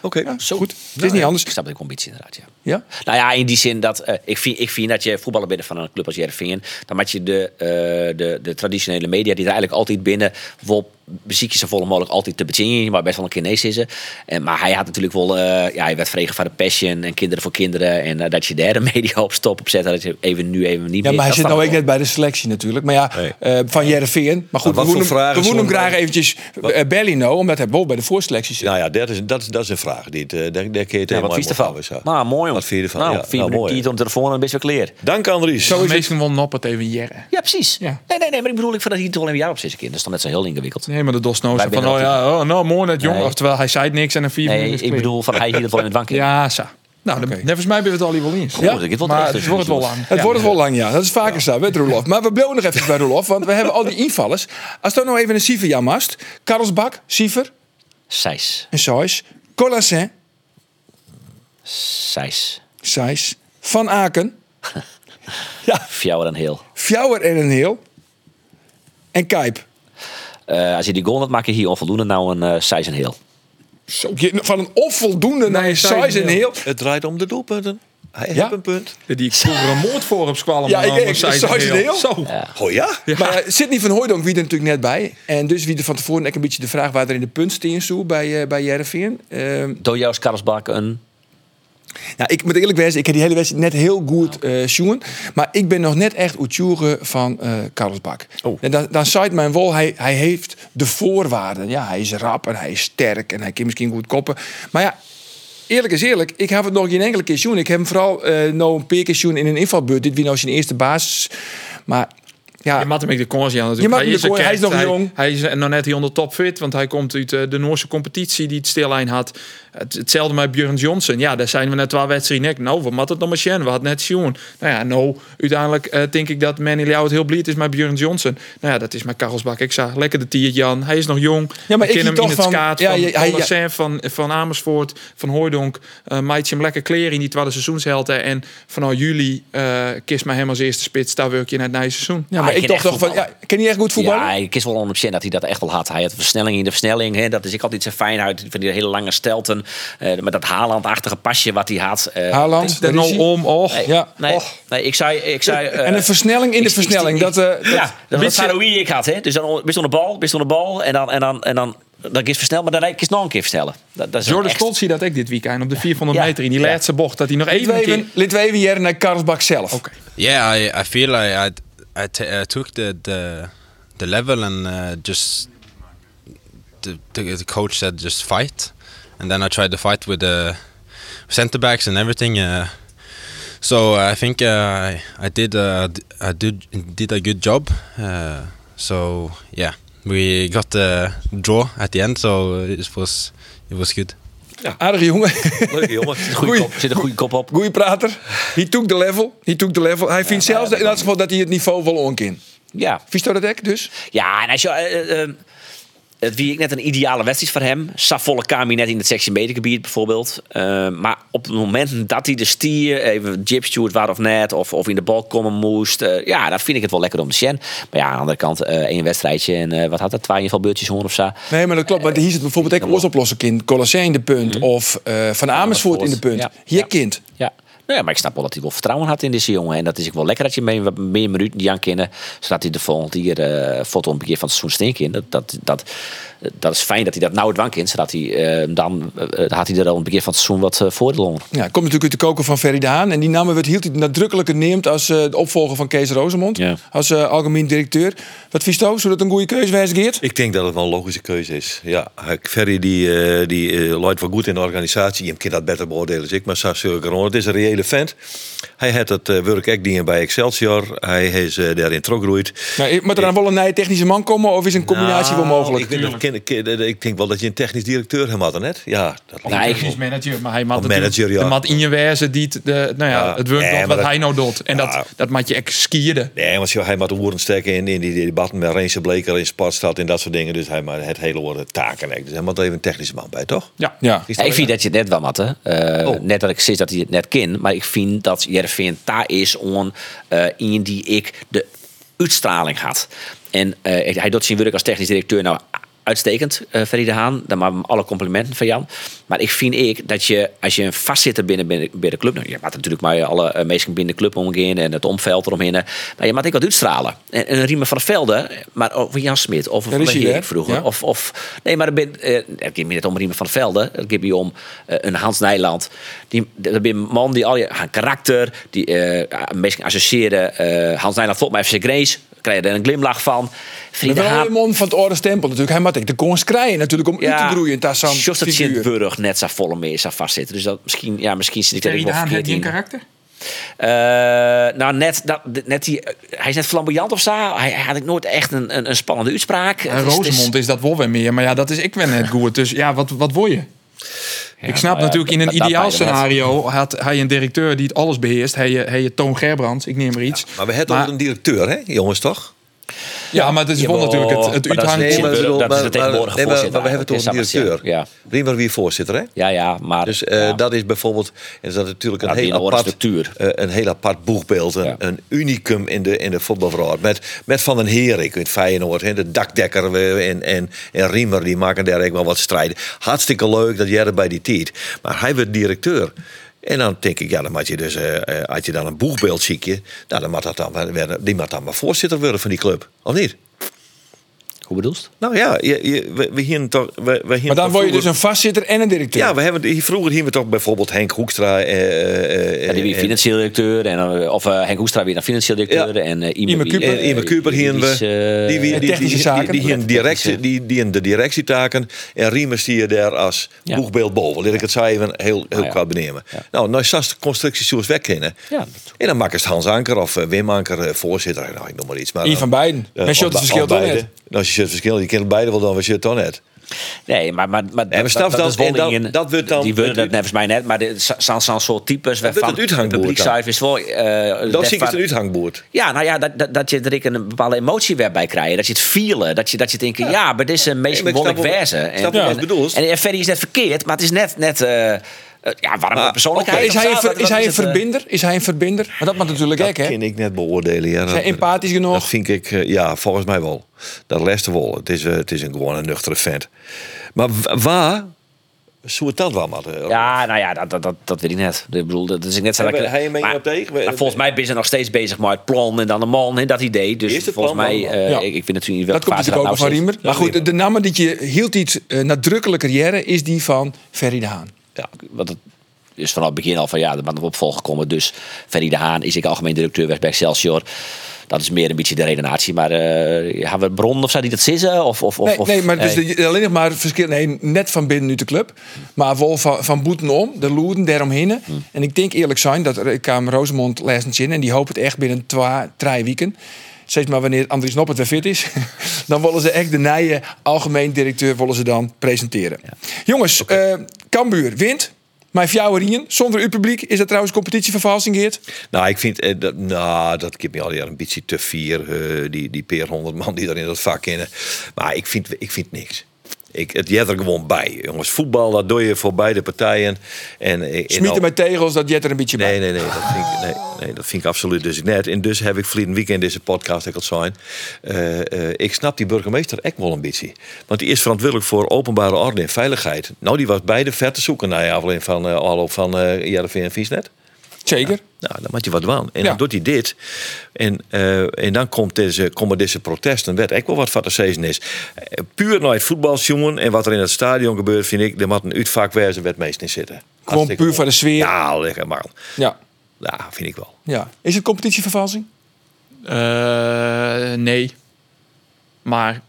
S5: Oké.
S7: Zo. Nou,
S1: Goed, het is niet anders.
S7: Ik snap de ambitie inderdaad, ja.
S1: Ja?
S7: Nou ja, in die zin dat eh, ik, vind, ik vind dat je voetballer binnen van een club als Jervingen, dan moet je de, eh, de, de traditionele media die er eigenlijk altijd binnen wel muziekje zo vol mogelijk altijd te bezingen, maar best wel een keer nee zitten. En, maar hij had natuurlijk wel, eh, ja, hij werd vregen van de passion en kinderen voor kinderen en eh, dat je derde media op stop opzet, dat je even nu even niet
S1: Ja, maar
S7: meer.
S1: hij
S7: Dat
S1: zit
S7: kan
S1: nou ook
S7: wel.
S1: net bij de selectie natuurlijk. Maar ja,
S5: Nee.
S1: eh, van Jereveen. Maar goed,
S5: Maar wat
S1: we
S5: voor
S1: moeten hem,
S5: vragen
S1: we moeten hem
S5: zullen
S1: graag
S5: wij-
S1: eventjes
S5: Wat-
S1: eh bellen nou, omdat hij bol bij de voorselectie zit.
S5: Nou ja, dat is, dat, is- dat is een vraag. Die, het, eh, daar, daar kun je het
S7: Ja,
S5: helemaal
S7: wat vies
S5: in
S7: ervan?
S5: worden, zo.
S7: Nou, mooi om.
S5: Wat vind je ervan?
S7: Nou,
S5: Ja,
S7: vier
S5: nou,
S7: minuten
S5: mooi.
S7: tiet om de telefoon en best wel clear.
S5: Dank, Andries.
S6: Zo is Meestal wel noppert even jaren.
S7: Ja, precies.
S6: Ja.
S7: Nee, nee, nee, maar ik bedoel, ik vind dat hier toch alleen een jaar op zit, een keer. Dat is dan net zo heel ingewikkeld.
S6: Nee, maar de Dosno
S7: Wij
S6: zei van,
S7: winnen
S6: oh ja, oh, nou mooi net jong.
S7: Nee.
S6: Oftewel, hij zei niks en een vier
S7: Nee,
S6: minuten is
S7: ik
S6: clear.
S7: bedoel, van hij hier wel in het wanken.
S6: Ja, zo. Nou, dan- volgens mij ben je het al hier wel eens.
S7: Ja, dit wordt
S6: maar
S7: echt
S6: het
S7: een
S6: wordt wel
S7: seizoen.
S6: lang.
S1: Het
S6: Ja.
S1: wordt wel lang, ja. Dat is vaker zo, weet Roelof. Maar we blijven nog even bij Roelof, want we hebben al die invallers. Als dan nog even een Siever jamast. Karlsbak, Siever
S7: Seis.
S1: en Sais. Colassin,
S7: Seis.
S1: Sais. Van Aken.
S7: Fjouwer en Heel.
S1: Fjouwer en een heel. En Kijp.
S7: Eh, als je die goal had maken, hier onvoldoende. Nou een eh Seis en Heel.
S1: Zo, je- van een onvoldoende naar een
S6: Sijs en
S1: size en
S6: Heel.
S1: heel.
S5: Het draait om de doelpunten. Hij heeft een punt.
S6: Die ik vroeger een moord voor op squallen.
S1: Ja,
S6: maar
S1: ik-
S6: dan
S1: ik-
S6: zei ze
S1: zo is het heel.
S6: Zo.
S5: Oh ja?
S1: Maar ja, Sidney van Hooydonk wie er natuurlijk net bij. En dus wie er van tevoren ook een beetje de vraag waar er in de punt steen zo bij, eh bij Jereveen. Ehm,
S7: Dojaus, Karlsbak, een...
S1: nou, ik moet eerlijk zijn, ik heb die hele wedstrijd net heel goed eh zien. Maar ik ben nog net echt Oetjoeren van eh Karlsbak.
S7: Oh.
S1: En dan, dan zei mijn wol, hij, hij heeft de voorwaarden. Ja, hij is rap en hij is sterk en hij kan misschien goed koppen. Maar ja, Eerlijk is eerlijk, ik heb het nog geen enkele keer zien. Ik heb hem vooral eh nou een paar keer zien in een invalbeurt. Dit wie nou zijn eerste basis. Maar ja,
S6: Je maakt hem ook de kans aan natuurlijk.
S1: Je maakt hem de
S6: een
S1: kans, hij is
S6: kerk,
S1: nog jong.
S6: Hij is eh, nog net hier onder topfit, want hij komt uit eh, de Noorse competitie die het stilijn had. Het, hetzelfde met Björn Johnson. Ja, daar zijn we na twaalf wedstrijden. nek. Nou, we moeten het nog maar zien. We hadden net zien. Nou ja, nou, uiteindelijk eh, denk ik dat Manny Leeuw het heel blij is met Björn Johnson. Nou ja, dat is met Karelsbak. Ik zag lekker de tiert Jan. Hij is nog jong.
S1: Ja, maar
S6: we
S1: ik zie
S6: kennen hem in
S1: toch
S6: het
S1: van-
S6: kaart
S1: ja,
S6: van,
S1: je-
S6: van
S1: hij-
S6: Lausanne, van, van Amersfoort, van Hooijdonk. Uh, Maait hem lekker kleren in die twaalf seizoenshelden. En vanaf juli eh kies maar hem als eerste spits. Daar werk je naar het nieuwe seizoen.
S1: Ja, maar
S7: hij
S1: Ah, ik
S7: kan
S1: dacht
S7: echt
S1: toch van, ja,
S7: voetballen.
S1: kan hij echt goed voetballen?
S7: Ja, hij is wel 100% dat hij dat echt wel had. Hij had versnelling in de versnelling. Hè. Dat is ik altijd zijn fijnheid van die hele lange stelten. eh met dat Haaland-achtige pasje wat hij had. eh,
S1: Haaland,
S6: Daar
S1: daar is
S6: nou
S1: hij.
S6: om, och.
S7: Nee,
S1: Ja.
S7: nee,
S1: Och.
S7: nee, ik zei... Ik zei eh,
S1: En een versnelling in de
S7: ik- ik-
S1: versnelling.
S7: ik-
S1: Dat, eh, dat-
S7: ja, dat was
S6: beetje-
S7: Saroui die ik had. Hè. Dus dan best onder de bal, best onder de bal. En dan, en dan, en dan, dan is versneld, maar dan is het nog een keer versnellen. Dat, dat is
S6: Jordan
S7: echt-
S6: Stolt zie dat ik dit weekend op de 400
S7: Ja.
S6: meter in die
S7: Ja.
S6: laatste bocht. Dat hij nog even een keer...
S1: Lidweven, Lidweven hier naar Karlsbak zelf.
S9: Yeah, I, I feel I I, I, t- I took the, the the level and uh, just the, the the coach said just fight, and then I tried to fight with the centre backs and everything. Uh, so I think uh, I I did uh, d- I did did a good job. Uh, so yeah, we got the draw at the end, so it was it was good.
S1: Aardige jongen.
S5: Leuke jongen.
S7: Goeie kop, zit een goede kop op.
S1: Goeie prater. Hij took the level. Hij took the level. Hij vindt zelfs dat- in elk geval dat hij het niveau wel onkin.
S7: Ja.
S1: Vies dat ook dus?
S7: Ja, en als je. eh, eh, eh, het wie ik net een ideale wedstrijd voor hem. Savolle kwam hij net in het 16 meter gebied bijvoorbeeld. Eh, maar op het moment dat hij de stier, even jib steward waar of net, of, of in de bal komen moest. eh, ja, dan vind ik het wel lekker om te zien. Maar ja, aan de andere kant, eh één wedstrijdje en eh, wat had dat? Twee invalbeurtjes hoorn of zo.
S1: Nee, maar dat klopt. Maar hier zit bijvoorbeeld ook oplossen kind. Colossijn de punt. Of eh, Van Amersfoort in de punt.
S7: Ja.
S1: Hier
S7: Ja.
S1: kind.
S7: Ja. Nou ja, maar ik snap wel dat hij wel vertrouwen had in deze jongen. En dat is ook wel lekker dat je mee, wat meer minuten die aan kennen. Zodat hij de volgende keer eh foto een keer van het seizoen stink in. Dat, dat, dat, dat is fijn dat hij dat nou het wank in. Zodat hij eh, dan eh, had hij er al een keer van het seizoen wat eh, voordeel onder.
S1: Ja, komt natuurlijk uit de koker van Ferry de Haan. En die namen werd hield hij nadrukkelijker neemt als eh, de opvolger van Kees Rosemond.
S7: Ja.
S1: Als eh, algemeen directeur. Wat vies dat? Zodat een goede keuze wijst, Geert?
S5: Ik denk dat het wel een logische keuze is. Ja, Ferry die, eh die eh, luidt wel goed in de organisatie. Je kan dat beter beoordelen als ik, maar Sas Surgeron, het is een reële vent. Hij heeft het eh, werk ook dingen bij Excelsior. Hij is eh, daarin teruggroeid.
S1: Nou, moet er dan wel een nieuwe technische man komen? Of is een combinatie
S6: Nou,
S1: wel mogelijk?
S5: Nou, Ik, weet nog, ken- ken- ik denk wel dat je een technisch directeur hem had, net. Ja, dat lijkt
S7: Nee,
S5: me
S7: ik-
S5: wel.
S6: Is manager, maar hij maakt
S5: Of manager,
S6: natuurlijk-
S5: ja.
S6: de mat in je wijze die het, de, nou ja,
S5: Ja.
S6: het werkt
S5: Nee,
S6: doet
S5: maar
S6: wat
S5: dat-
S6: hij nou doet. En
S5: Ja.
S6: dat, dat maakt je echt skieren.
S5: Nee, want joh, hij moet de woorden steken in, in die debatten met Reense Bleker in Sportstad en dat soort dingen. Dus hij maakt het hele woorden taken. Dus hij moet even een technische man bij, toch?
S6: Ja.
S1: Ja.
S5: Is
S7: Ja,
S5: dat
S7: ik vind dat je het net wel mat, hè. Eh,
S5: Oh.
S7: Net dat ik zit dat hij het net ken. Maar ik vind dat Jervin daar is on eh in die ik de uitstraling had. En eh, hij doet zijn werk als technisch directeur nou uitstekend, eh Ferry de Haan. Dan maar alle complimenten van Jan. Maar ik vind ik dat je, als je een vastzitter binnen, binnen, binnen de club... Nou, je maakt natuurlijk maar alle eh, mensen binnen de club omheen en het omveld eromheen. eh, Maar je maakt ook wat uitstralen. En, en Riemen van der Velde, maar of Jan Smit of
S1: Ja,
S7: van
S1: die
S7: der
S1: zie je,
S7: Herik
S1: hè?
S7: vroeger.
S1: Ja.
S7: Of of, of nee, maar er ben, eh, het gaat me net om Riemen van Velden. Het gaat me om eh, een Hans Nijland. Die, dat ben een man die al je haar karakter, die eh mensen associëren. eh, Hans Nijland volgt mij FC Grace. Krijg je er een glimlach van.
S1: Maar
S7: Vrienden
S1: wel
S7: Haan.
S1: een man van het orde stempel natuurlijk. Hij moet ik de konst krijgen natuurlijk om uit te groeien. Daar zo'n
S7: Jos dat
S1: figuur.
S7: Sint-Burg net zo volle meer zou vastzitten. Dus dat, misschien, ja, misschien zit ik er
S6: Terry de
S7: helemaal
S6: Haan heeft die
S7: verkeerd
S6: een
S7: in.
S6: karakter?
S7: Eh, nou, net, dat, net die, eh, hij is net flamboyant of zo. Hij, hij had ik nooit echt een, een, een spannende uitspraak.
S6: En
S7: Het is- het is-
S6: Rosemond is dat wel weer meer. Maar ja, dat is ik ben net goed. Dus ja, wat, wat word je? ik snap
S7: nou ja,
S6: natuurlijk in
S7: dat-
S6: een
S7: dat
S6: ideaal
S7: bij de net.
S6: scenario had hij een directeur die het alles beheerst. Hij, eh, hij Toon Gerbrands, ik neem er iets.
S5: Maar we hebben
S6: Maar-
S5: ook een directeur, hè, jongens, toch?
S6: Ja, maar het is wel
S7: Jawel,
S6: natuurlijk het, het
S7: maar dat is
S6: uithangbord.
S5: maar-
S7: niet- dat is
S5: maar-
S7: de
S5: maar-
S7: tegenwoordige
S5: nee, maar-
S7: voorzitter
S5: maar we hebben toch een
S7: eigenlijk, hè,
S5: directeur.
S7: Sebastian.
S5: Riemer wie voorzitter, hè?
S7: Ja, ja, maar...
S5: Dus eh,
S7: ja.
S5: dat is bijvoorbeeld, en dat is natuurlijk
S7: Ja,
S5: een,
S7: die
S5: heel
S7: enorme
S5: apart,
S7: structuur.
S5: eh, een heel apart boegbeeld. Een,
S7: Ja.
S5: een unicum in de, in de voetbalverhaal. Met, met Van den Herik in Feyenoord, hè, de dakdekker eh, en, en, en Riemer, die maken daar eigenlijk wel wat strijden. Hartstikke leuk dat jij er bij die tiet. Maar hij werd directeur. En dan denk ik, ja, dan had je dus, eh, eh, had je dan een boegbeeld ziekje. Nou, dan mag dat dan, wel- werden- die mag dan maar voorzitter worden van die club, of niet?
S7: Hoe bedoel je het?
S5: Nou ja, je, je- we, we hier toch. We, we hier
S1: Maar dan
S5: toch
S1: word je dus
S5: vroeger-
S1: een vastzitter en een directeur.
S5: Ja, we hebben hier vroeger hier we toch bijvoorbeeld Henk Hoekstra. eh, eh,
S7: Ja, die
S5: eh,
S7: weer financieel directeur. En, dan- of eh, Henk Hoestra weer dan financieel directeur.
S5: Ja.
S7: En eh
S1: Ime
S7: wie-
S1: Kuiper.
S5: en
S7: eh,
S5: Ime Kuiper
S7: die-
S5: hier
S7: die
S5: we.
S7: is, eh,
S5: Die, wie- die,
S1: technische
S5: die- die-
S1: zaken.
S5: Die, hier
S7: Ja,
S5: directie,
S7: technische.
S5: die, die in de directietaken. En Riemers die je daar als
S7: Ja.
S5: boegbeeld boven. Laat ik het zo even heel, heel
S7: Ah, ja.
S5: kwaad benemen.
S7: Ja.
S5: Nou, nou is de constructie zoals weg kennen.
S7: Ja.
S5: En dan maken ze Hans Anker of eh, Wim Anker eh, voorzitter. Nou, ik noem maar iets. Maar
S1: Eén
S5: dan-
S1: van beiden.
S5: eh,
S1: Maar shot het
S5: of be-
S1: verschil
S5: of
S1: toch
S5: beide.
S1: net?
S5: Nou, als je het verschil, je kent beide wel dan, was je het toch net.
S7: Dus Nee, maar, maar, maar,
S5: maar snap dat- en dat- dat wordt dan-
S7: Die willen dat
S5: wordt-
S7: volgens mij net, maar dit zijn- zijn zijn soort types waarvan
S5: wordt het
S7: het
S5: uithangboord
S7: publiek
S5: dan.
S7: zelf is wel... eh, net
S5: Dat zie ik
S7: wat-
S5: het een uithangboord.
S7: Ja, nou ja, dat, dat, dat je er ik een bepaalde emotie weer bij krijgt. Dat je het vielen. Dat je, dat je denkt, ja, maar dit is een meest
S5: Nee, maar ik
S7: wonderlijk
S5: snap wel-
S7: wezen.
S5: ik snap wel wat je bedoelt.
S7: En, en verder is net verkeerd, maar het is net... net eh, eh, ja, warme
S5: Maar,
S7: persoonlijkheid.
S1: Is
S7: of
S1: hij,
S7: zo,
S1: een, ver-
S7: wat-
S1: is
S7: wat
S1: hij een
S7: het, eh?
S1: verbinder? Is hij een verbinder? Maar dat mag natuurlijk
S5: Dat
S1: gek, hè?
S5: kan ik net beoordelen. Ja.
S1: Zijn
S5: Dat,
S1: empathisch
S5: dat
S1: genoeg?
S5: vind ik, eh, ja, volgens mij wel. Dat les te wel. Het is, eh, het is een, gewoon een nuchtere vent. Maar wa- waar zou het dat wel, Matt?
S7: Ja, nou ja, dat, dat, dat, dat weet ik net. Ik bedoel, dat is net zo dat
S5: Hebben-
S7: ik-
S5: hij een mening
S7: maar-
S5: op tegen? We-
S7: maar volgens mij ben ze nog steeds bezig met het plan en dan de man en dat idee. Dus
S5: Eerst het
S7: volgens
S5: plan,
S7: mij,
S5: dan de
S1: man.
S7: eh,
S1: Ja.
S7: ik, ik vind natuurlijk niet
S1: Dat
S7: welke
S1: komt
S7: fase
S1: natuurlijk ook nog van
S7: nou
S1: Riemer.
S7: zit.
S1: Maar goed, de, de naam die je hield iets eh, nadrukkelijker jaren is die van Ferry de Haan.
S7: Ja, want dat is vanaf het begin al van ja, er mag nog opvolger komen. Dus Ferry de Haan is ik algemeen directeur weg bij Excelsior. Dat is meer een beetje de redenatie. Maar eh, hebben we bron of zo die dat zissen? Of, of, of,
S1: Nee,
S7: of-
S1: nee, maar dus de- alleen nog maar verschil. Nee, net van binnen nu de club. Maar wel van, van boeten om, de loeren daaromheen.
S5: Mm.
S1: En ik denk eerlijk zijn dat er- ik kwam Rosemond lessens in. En die hoopt het echt binnen twee, drie weken. Steeds maar wanneer Andries Noppert weer fit is. dan willen ze echt de nieuwe algemeen directeur willen ze dan presenteren. Jongens, eh Kambuur wint. Mijn fjouwerien, zonder uw publiek, is dat trouwens competitievervalsing, Geert?
S5: Nou, ik vind eh, dat, nou, dat geeft me al die ambitie te vier, eh, die, die peer honderd man die daar in dat vak kennen. Maar ik vind, ik vind niks. Ik, het jet er gewoon bij. Jongens, voetbal, dat doe je voor beide partijen. En, eh, in al-
S1: Smieten met tegels, dat jet er een beetje bij.
S5: Nee, nee, nee, dat vind ik, nee, nee, dat vind ik absoluut dus net. En dus heb ik verleden weekend deze podcast, ik al zijn. eh, eh, ik snap die burgemeester echt wel een beetje. Want die is verantwoordelijk voor openbare orde en veiligheid. Nou, die was beide ver te zoeken naar je aflevering van eh afloop van eh Jarreveen en Viesnet.
S1: Zeker.
S5: Nou, dan moet je wat doen. En
S1: Ja.
S5: dan doet hij dit. En, eh, en dan komt deze, komen deze protesten. Weet ik wel wat van de season is. Eh, Puur naar het voetbalsjongen en wat er in het stadion gebeurt, vind ik. Er moet een uitvak wezen waar het meest in zitten.
S1: Gewoon puur voor de sfeer.
S5: Ja, lekker man.
S1: Ja.
S5: Ja, vind ik wel.
S1: ja. Is het competitievervalsing?
S6: Eh, nee. Maar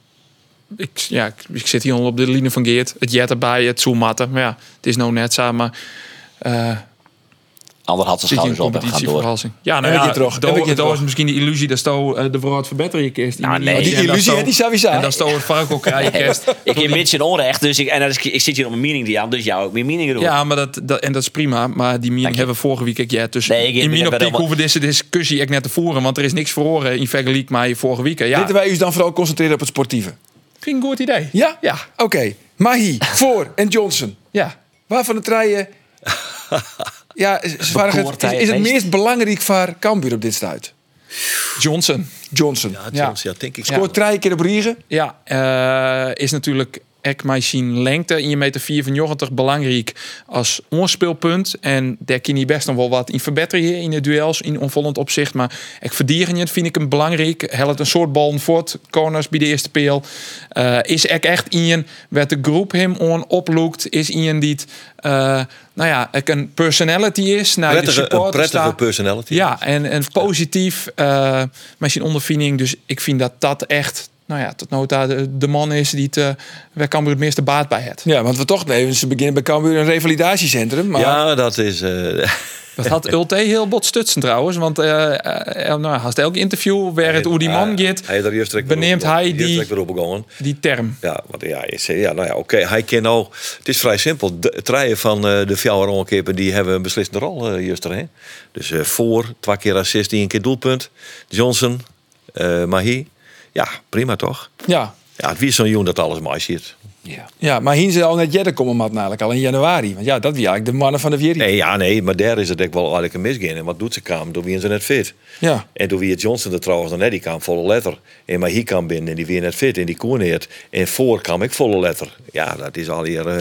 S6: ik, ja, ik, ik zit hier al op de linie van Geert. Het jet erbij, het zoematten. Maar ja, het is nou net samen. Maar eh,
S7: Ander had zijn
S6: zit je in
S7: schouders op en gaat door.
S6: competitievervalsing. Ja,
S1: Heb
S6: nou
S1: ik
S6: ja,
S1: je terug, heb ik
S6: daar
S1: je terug.
S6: is misschien die illusie dat Sto eh, de verhaal verbeteren je kist.
S7: Nou, nee.
S1: Die
S7: En
S6: dat
S1: illusie,
S6: Sto-
S1: hè, die zou je zijn.
S6: En dan Sto het vark ook krijgen kist.
S7: Ik heb mensen onrecht, dus ik, en dat is, ik zit hier op mijn mening die aan, dus jou ook mijn mening doen.
S6: Ja, maar dat, dat, en dat is prima. Maar die meeting
S7: je.
S6: hebben we vorige week ook gehad. Dus
S7: Nee, ik- ik
S6: in
S7: ben
S6: mijn
S7: er
S6: optiek
S7: helemaal-
S6: hoeven we deze discussie ook net te voeren. Want er is niks verhoren in vergelijk met vorige week. Ja,
S1: Laten wij u dan vooral concentreren op het sportieve.
S6: vind ik een goed idee.
S1: Ja?
S6: Ja.
S1: Oké. Mahi, Voor en Johnson.
S6: Ja.
S1: Waarvan de treien... Ja, is, waren het, is,
S7: hij
S1: is het
S7: het meest?
S1: meest belangrijk voor Cambuur op dit stuit?
S6: Johnson.
S1: Johnson.
S6: Ja.
S5: Ja, ja denk ik.
S1: Scoort drie keer op Riegen.
S6: Ja, eh, is natuurlijk ek my sien lengte in je meter 94 belangrijk als onspeelpunt en daar kan je best nog wel wat in verbeteren hier in de duels in onvollend opzicht, maar ik verdieren het vind ik hem belangrijk. Hel het een soort bal voort, corners bij de eerste peel. Eh, is ek echt in werd de groep hem on oploekt, is in die het, eh, nou ja, ek een personality is, nou de
S5: Prettige, een
S6: supporters
S5: prettige
S6: daar-
S5: personality.
S6: ja, Ah, en, en positief eh misschien ondervinding. Dus ik vind dat dat echt, nou ja, tot nota de, de man is die het, eh waar Cambuur het meeste baat bij heeft.
S1: Ja, want we toch nee, ze beginnen bij Cambuur een revalidatiecentrum. Maar
S5: Ja, dat is. eh,
S6: Dat had Ulte heel bot stutsen trouwens. Want eh eh, nou, haast elk interview waar het over die man gaat,
S5: Hij heeft er juist direct weer
S6: beneemt
S5: opgegaan.
S6: hij
S5: Juist
S6: die-
S5: direct weer opgegaan.
S6: die term.
S5: Ja, want ja, ik zei, ja, nou ja, oké. Hij kan nou, het is vrij simpel. De treien van eh, de Fjouwer die hebben een beslissende rol eh juist erin. Dus eh, voor, twee keer assist, die een keer doelpunt. Johnson, eh Mahi. Ja, prima toch?
S1: ja.
S5: Ja, het wie is zo'n jongen dat alles maar ziet.
S1: ja maar hier zijn al net Jedde komen mat namelijk al in januari. Want ja, dat waren eigenlijk de mannen van de Vieri.
S5: Nee, ja, nee, maar daar is het ook wel eigenlijk een misgaan. En wat doet ze kamer? Door wie is ze net fit?
S1: Ja.
S5: En toen wie het Johnson er trouwens dan net, die kwam volle letter. En maar hier kan binnen en die weer net fit en die koerneert. En voor kwam ik volle letter. Ja, dat is al hier. eh,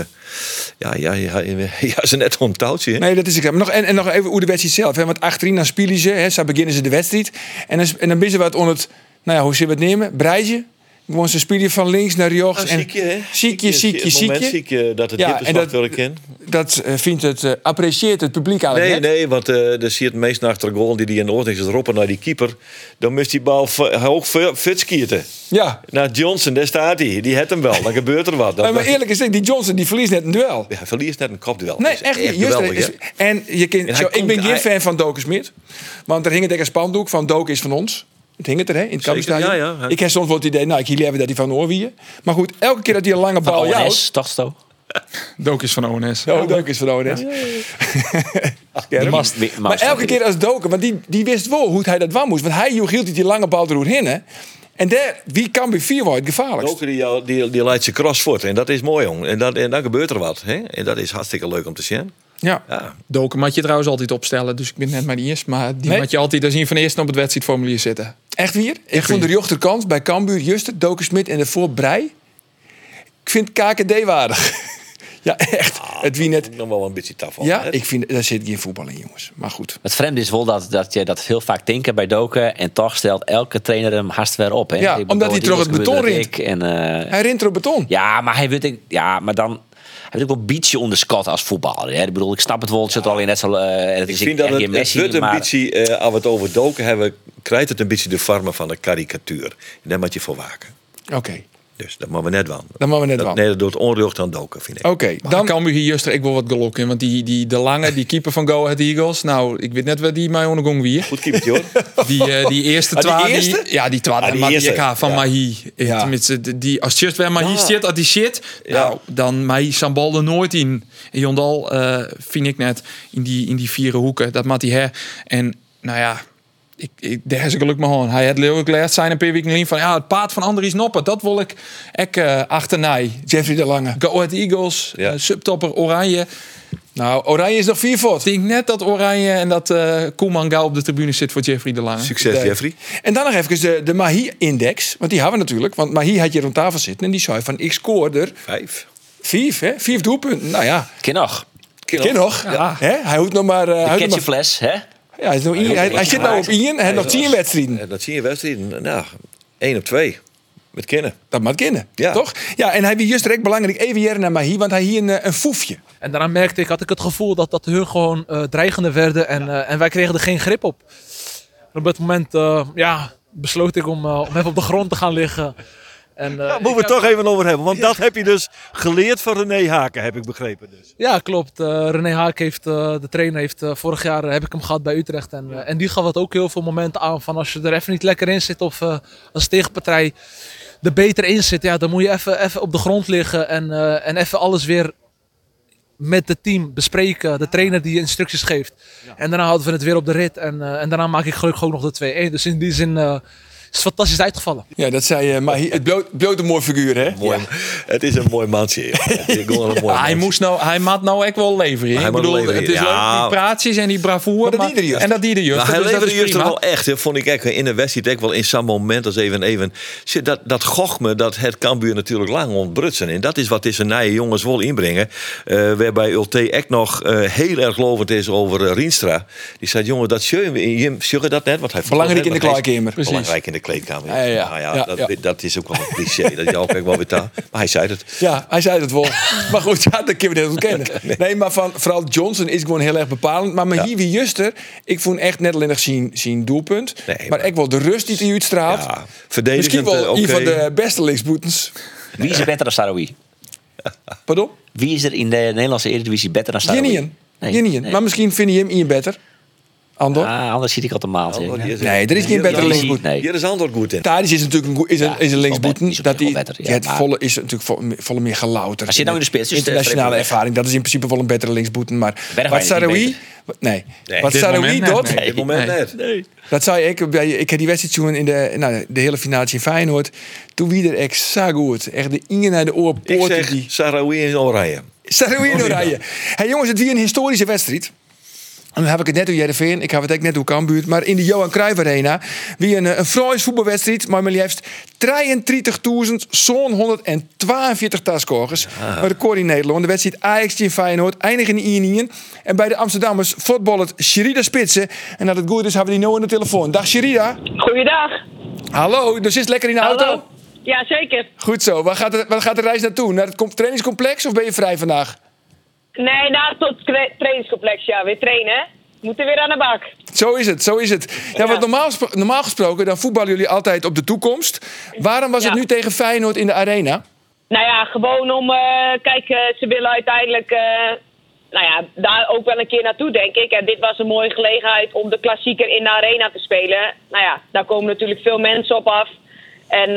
S5: ja, ja, ja, ja, ja, ze net om het touwtje. hè.
S1: Nee, dat is ik. Maar nog, en, en nog even hoe de wedstrijd zelf. Hè? Want achterin dan spelen ze, hè, zo beginnen ze de wedstrijd. En dan, en dan ben ze wat onder het, nou ja, hoe ze het nemen? Breidje. Gewoon ze spelen van links naar rechts.
S5: Nou,
S1: en
S5: ziekje, hè?
S1: Ziekje, ziekje,
S5: Het moment
S1: ziekje.
S5: ziekje dat het
S1: Ja,
S5: ja,
S1: en dat-
S5: diepte wil ik in.
S1: Dat eh, vindt het, eh, apprecieert het publiek eigenlijk
S5: Nee,
S1: net.
S5: nee, want eh er ziet meest naar de goal die die in de oorlog is roppen naar die keeper. Dan moest die bal v- hoog v- fit skieten.
S1: Ja.
S5: Naar Johnson, daar staat hij. Die heeft hem wel. Dan gebeurt er wat. Dan-
S1: Maar, maar eerlijk gezegd, die Johnson die verliest net een duel.
S5: Ja, hij verliest net een kopduel.
S1: Nee,
S5: Dat is eh,
S1: echt niet. Juist,
S5: geweldig,
S1: is-
S5: hè?
S1: en je kunt,
S5: En hij
S1: zo, ik
S5: komt-
S1: ben geen
S5: hij-
S1: fan van Doken Smit. Want er hing het echt een spandoek van Doken is van ons. Het hing het er, hè, in het
S5: Zeker,
S1: Kampenstadion.
S5: ja, ja, ja.
S1: Ik heb soms wel het idee, nou, ik hier hebben dat hij van Oorwieën. Maar goed, elke keer dat hij een lange bal jouwt...
S7: ONS, toch zo?
S6: Dook is van ONS.
S1: Zo, Doken is van ONS.
S7: De mast- de mast-
S1: Maar elke keer als Doken, want die, die wist wel hoe hij dat wou moest. Want hij joeg hield die lange bal erover heen. hè. En daar, wie kan bij vier worden het gevaarlijkst?
S5: Doken die, jou- die, die leidt zijn cross voort. En dat is mooi, jong. En, dat, en dan gebeurt er wat. Hè? En dat is hartstikke leuk om te zien.
S1: Ja.
S5: Ja,
S6: Doken moet je trouwens altijd opstellen, dus ik ben net maar niet eens. Maar die
S1: Nee.
S6: moet je altijd als een van de eerste op het wedstrijdformulier zitten.
S1: Echt weer? Ik vond de rechterkant bij Cambuur, Juster, Doken Smit en daarvoor Brei. Ik vind KKD waardig. ja, echt.
S5: Ah,
S1: Het wie net...
S5: nog wel een beetje taf van,
S1: Ja,
S5: hè.
S1: ik vind, daar zit geen voetbal in, jongens. Maar goed.
S7: Het vreemde is wel dat, dat je dat heel vaak denkt bij Doken. En toch stelt elke trainer hem hard weer op. Hè?
S1: Ja,
S7: Ik
S1: omdat hij
S7: die
S1: toch het
S7: was gebeurd
S1: beton
S7: dat ik En, eh,
S1: Hij rint er op beton.
S7: ja, maar hij weet ik, ja, maar dan. Hij wordt ook wel een beetje onderschat als voetballer. Hè? Ik bedoel, ik snap het wel. Het zit al in net zo. eh,
S5: Dus
S7: het
S5: Ik
S7: is
S5: vind dat
S7: echt
S5: het,
S7: geen
S5: het
S7: Messi,
S5: wordt een
S7: maar-
S5: beetje, eh, als we het over doken hebben, krijgt het een beetje de vormen van een karikatuur. En daar moet je voor waken.
S1: Oké,
S5: Dus dat mogen we net doen.
S1: dan mogen we net
S5: Dat-
S1: wel. Oh.
S5: Nee, dat doet onrecht aan doken, vind ik.
S1: Oké,
S6: Dan
S1: dan...
S6: kan hier Juster, ik wil wat gelok in. Want die, die, de lange, die keeper van Go Ahead Eagles. Nou, ik weet net waar die mij ondergong wie.
S5: Goed keepertje, hoor.
S6: Die, eh, die eerste
S5: Ah, die
S6: twa.
S5: eerste?
S6: ja, die twa.
S5: Ah, die
S6: die maar die
S5: eerste.
S6: EK van
S5: Ja.
S6: Mahi. Eh,
S1: Ja. Ah.
S6: Tenminste, de- die, als Just bij Mahi
S5: Ja.
S6: zit, als die shit. Nou, dan Mahi Sambal er nooit in. En Jondal eh, vind ik net in die, in die vieren hoeken. Dat maakt hij her. En nou ja. Ik, ik, daar is ik geluk maar gewoon. Hij had leeuwig geleerd zijn een paar weken geleden van ja, het paard van Andries Noppen, dat wil ik ek, eh achterna.
S1: Jeffrey de Lange.
S6: Go Ahead Eagles,
S5: Ja.
S6: eh, subtopper Oranje.
S1: Nou, Oranje is nog vier voort.
S6: Ik denk net dat Oranje en dat eh Koeman Gauw op de tribune zit voor Jeffrey de Lange.
S5: Succes, Jeffrey.
S1: En dan nog even de, de Mahi-index. Want die hebben we natuurlijk. Want Mahi had je rond tafel zitten. En die zei van, ik scoor er
S5: Vijf.
S1: vijf, hè? Vijf doelpunten. Nou ja,
S7: Ken nog.
S1: ken nog.
S6: Ja.
S1: Hè? Hij hoeft nog maar... eh, hij, hoeft nog maar-
S7: Ketchupfles, hè?
S1: ja, hij, is nog in- hij, hij zit nou op Ian. Hij heeft nog tien wedstrijden.
S5: Eh, Dat zie je wedstrijden. Nou, één op twee. Met kennen.
S1: Dat moet kennen,
S5: Ja.
S1: toch? Ja, en hij wie juist direct belangrijk even hier naar Mahi. Want hij hier een, eh, een foefje.
S10: En daaraan merkte ik, had ik het gevoel dat, dat hun gewoon eh, dreigender werden en, eh, en wij kregen er geen grip op. En op dat moment eh, ja, besloot ik om, eh, om even op de grond te gaan liggen. En, eh, ik
S11: moeten we
S10: heb-
S11: het toch even over hebben. Want dat heb je dus geleerd van René Haken, heb ik begrepen. Dus.
S10: Ja, klopt. Eh, René Haak heeft, eh, de trainer, heeft eh, vorig jaar heb ik hem gehad bij Utrecht. En, eh, en die gaf het ook heel veel momenten aan van als je er even niet lekker in zit of eh, als tegenpartij er beter in zit, ja, dan moet je even, even op de grond liggen en, eh, en even alles weer met het team bespreken. De trainer die je instructies geeft. En daarna houden we het weer op de rit en, eh, en daarna maak ik gelukkig ook nog de 2-1. Dus in die zin eh, is het fantastisch uitgevallen.
S1: Ja, dat zei eh, Mahi. Het bloot, bloot een mooi figuur, hè?
S5: Mooi. Het is een mooi mansje. joh. Het is gewoon een mooi
S6: Ah, hij,
S5: mansje.
S6: moest nou, hij maat nou echt wel leveren. hè?
S5: Hij
S6: Ik
S5: moet
S6: bedoel,
S5: leveren,
S6: het is
S5: ja.
S6: leuk, die praatjes en die bravoure.
S1: Maar dat iedere juist.
S6: en dat iedere juist.
S5: Nou, hij
S6: dus dat
S5: leverde
S6: is
S5: juist toch
S6: prima.
S5: wel echt. hè. Vond ik echt in de wedstrijd echt wel in zo'n moment als even even. Zit Dat, dat gochme, dat het Cambuur natuurlijk lang ontbrutsen. En dat is wat deze nieuwe jongens wel inbrengen. Eh, waarbij Ulte echt nog eh, heel erg lovend is over eh, Rienstra. Die zei, jongen, dat zie je- je, zie je dat net? Want hij verkocht
S1: Belangrijk
S5: net,
S1: in de
S5: want hij is-
S1: kleedkamer. Precies.
S5: Belangrijk in de kleedkamer.
S1: Ja, ja, ja.
S5: Nou
S1: Ja,
S5: dat,
S1: ja.
S5: dat is ook wel een cliché. dat je ook echt wel weer taal. Maar hij zei het.
S1: Ja, hij zei het wel. maar goed, ja, dat kunnen we dit ontkennen. Nee, maar van, vooral Johnson is gewoon heel erg bepalend. Maar Mahi wie Juster, ik vond echt net alleen nog zien, zien doelpunt.
S5: Nee,
S1: maar,
S5: maar-
S1: echt wel de rust die hij uitstraalt.
S5: Ja, verdedigend.
S1: Misschien wel
S5: eh,
S1: een
S5: oké.
S1: van de beste linksboetens.
S7: Wie is er beter dan Sarawi?
S1: Pardon?
S7: Wie is er in de Nederlandse Eredivisie beter dan Sarawi?
S1: Jinnien.
S7: Nee,
S1: Jinnien.
S7: nee.
S1: Maar misschien vind je hem Ian better. Andor?
S7: Ah, anders zie ik altijd maal.
S5: Oh, die is-
S1: nee, er is geen betere
S7: die-
S1: linksboet.
S7: nee.
S5: Hier is Andor goed in.
S1: Tadic is natuurlijk een, goe- is een, is
S7: is
S1: een
S7: wel
S1: linksboeten.
S7: bet- is op
S1: dat
S7: zich
S1: die,
S7: wel better, ja,
S1: het
S7: maar-
S1: volle is natuurlijk vo- volle meer gelouter.
S7: Als je nou in de spits is,
S1: internationale
S7: streep je
S1: ervaring, dat is in principe wel een betere linksboeten. Maar
S7: Bergwijn
S1: wat
S7: is niet
S1: Saroui,
S7: beter.
S1: nee,
S5: Nee,
S1: wat
S6: dit
S1: Saroui
S6: moment net,
S1: doet,
S6: nee.
S5: Op dit moment
S6: Nee.
S5: net.
S1: dat zei ik bij ik heb die wedstrijd toen in de, nou, de hele finale in Feyenoord. Toen wie er echt zo goed, echt de ingen naar de oor
S5: Ik
S1: poorten
S5: zeg
S1: die.
S5: Sarawi in oranje.
S1: Saroui in oranje. Hey jongens, het weer een historische wedstrijd. En dan heb ik het net door Jereveen, ik heb het ook net door Cambuur. Maar in de Johan Cruijff Arena, wie een, eh, een Fries voetbalwedstrijd, maar maar liefst 33.000, zo'n 142 taskogers. Een record in Nederland. De wedstrijd Ajax tegen Feyenoord, eindigen in 1 En bij de Amsterdammers voetballet Sherida Spitsen. En dat het goed is, hebben we die nou aan de telefoon. Dag Sherida.
S10: Goeiedag.
S1: Hallo, dus is het lekker in de auto?
S10: Ja, zeker.
S1: Goed zo. Waar gaat, de, waar gaat de reis naartoe? Naar het com- trainingscomplex of ben je vrij vandaag?
S10: Nee, na tot trainingscomplex, ja. Weer trainen, hè? Moeten weer aan de bak.
S1: Zo is het, zo is het. Ja, want normaal, gespro- normaal gesproken dan voetballen jullie altijd op de toekomst. Waarom was
S10: Ja.
S1: het nu tegen Feyenoord in de arena?
S10: Nou ja, gewoon om. eh, kijk, eh, ze willen uiteindelijk eh,
S12: nou ja, daar ook wel een keer naartoe, denk ik. En dit was een mooie gelegenheid om de klassieker in de arena te spelen. Nou ja, daar komen natuurlijk veel mensen op af. En eh,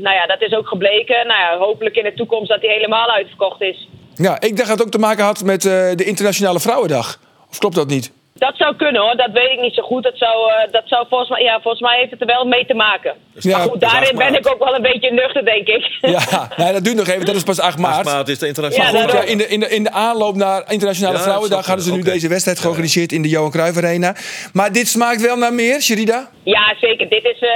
S12: nou ja, dat is ook gebleken. Nou ja, hopelijk in de toekomst dat die helemaal uitverkocht is.
S1: Ja, ik dacht dat het ook te maken had met eh, de Internationale Vrouwendag. Of klopt dat niet?
S12: Dat zou kunnen hoor, dat weet ik niet zo goed. Dat zou, eh, dat zou volgens, mij, ja, volgens mij heeft het er wel mee te maken.
S1: Ja,
S12: maar goed,
S1: dat is
S12: daarin
S1: acht
S12: ben
S1: maart.
S12: ik ook wel een beetje nuchter, denk ik.
S1: Ja, nee, dat duurt nog even. Dat is pas 8 maart. 8
S5: maart is de
S12: internationale
S1: Maar goed, ja,
S12: vrouwendag.
S1: in, de, in, de, in de aanloop naar Internationale
S5: Ja, dat
S1: Vrouwendag
S5: zou
S1: hadden ze nu
S5: kunnen. Oké.
S1: deze wedstrijd georganiseerd in de Johan Cruijff Arena. Maar dit smaakt wel naar meer, Sherida?
S12: Ja, zeker. Dit is eh,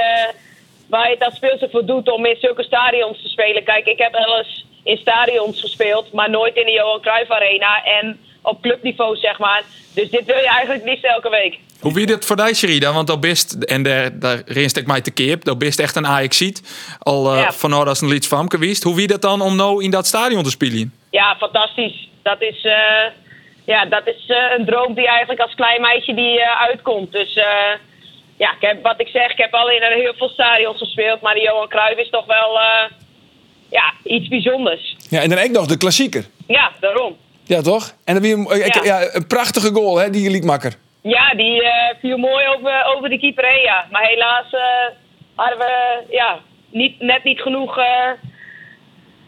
S12: waar je het als speelster voor doet om in zulke stadions te spelen. Kijk, ik heb wel eens in stadions gespeeld, maar nooit in de Johan Cruijff Arena en op clubniveau, zeg maar. Dus dit wil je eigenlijk liefst elke week.
S6: Hoe wie dat voor jou, Sherida? Want dat bist, en daar, daar rinst ik mij te keer, dat bist echt een Ajaxiet. Al eh
S12: Ja.
S6: van oud als een lied van geweest. Hoe wie dat dan om nou in dat stadion te spelen?
S12: Ja, fantastisch. Dat is, eh, ja, dat is eh, een droom die eigenlijk als klein meisje die eh, uitkomt. Dus eh, ja, ik heb, wat ik zeg, ik heb al in heel veel stadions gespeeld, maar de Johan Cruijff is toch wel eh, ja, iets bijzonders.
S1: Ja, en dan ook nog de klassieker.
S12: Ja, daarom.
S1: Ja, toch? En dan weer een, eh, ik- ja, een prachtige goal, hè, die liedmakker.
S12: Ja, die eh, viel mooi over, over de keeper heen, ja. Maar helaas eh, hadden we ja, niet, net niet genoeg eh,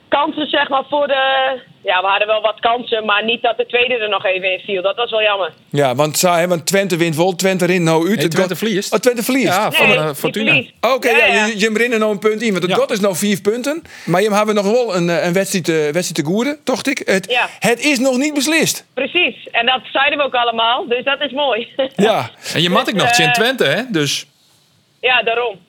S12: kansen, zeg maar, voor de... Ja, we hadden wel wat kansen, maar niet dat de tweede er nog even in viel. Dat was wel jammer.
S1: Ja, want, zij- hè, want Twente wint vol, Twente rint nou uit. Twente verliest. Oh, Twente verliest.
S12: Ja, van, Nee, eh, die Fortuna. verliest.
S1: Oh, Oké, ja,
S12: Ja, ja.
S1: je, je rinnen nou een punt in, want het God is nou vier punten. Maar je hebben nog wel een, eh, een wedstrijd, eh, wedstrijd te goeren, tocht ik. Het,
S12: Ja.
S1: het is nog niet beslist.
S12: Precies, en dat zeiden we ook allemaal, dus dat is mooi.
S1: Ja.
S6: En je mat ik nog
S12: Eh,
S6: Sint Twente, hè? Dus
S12: ja, daarom.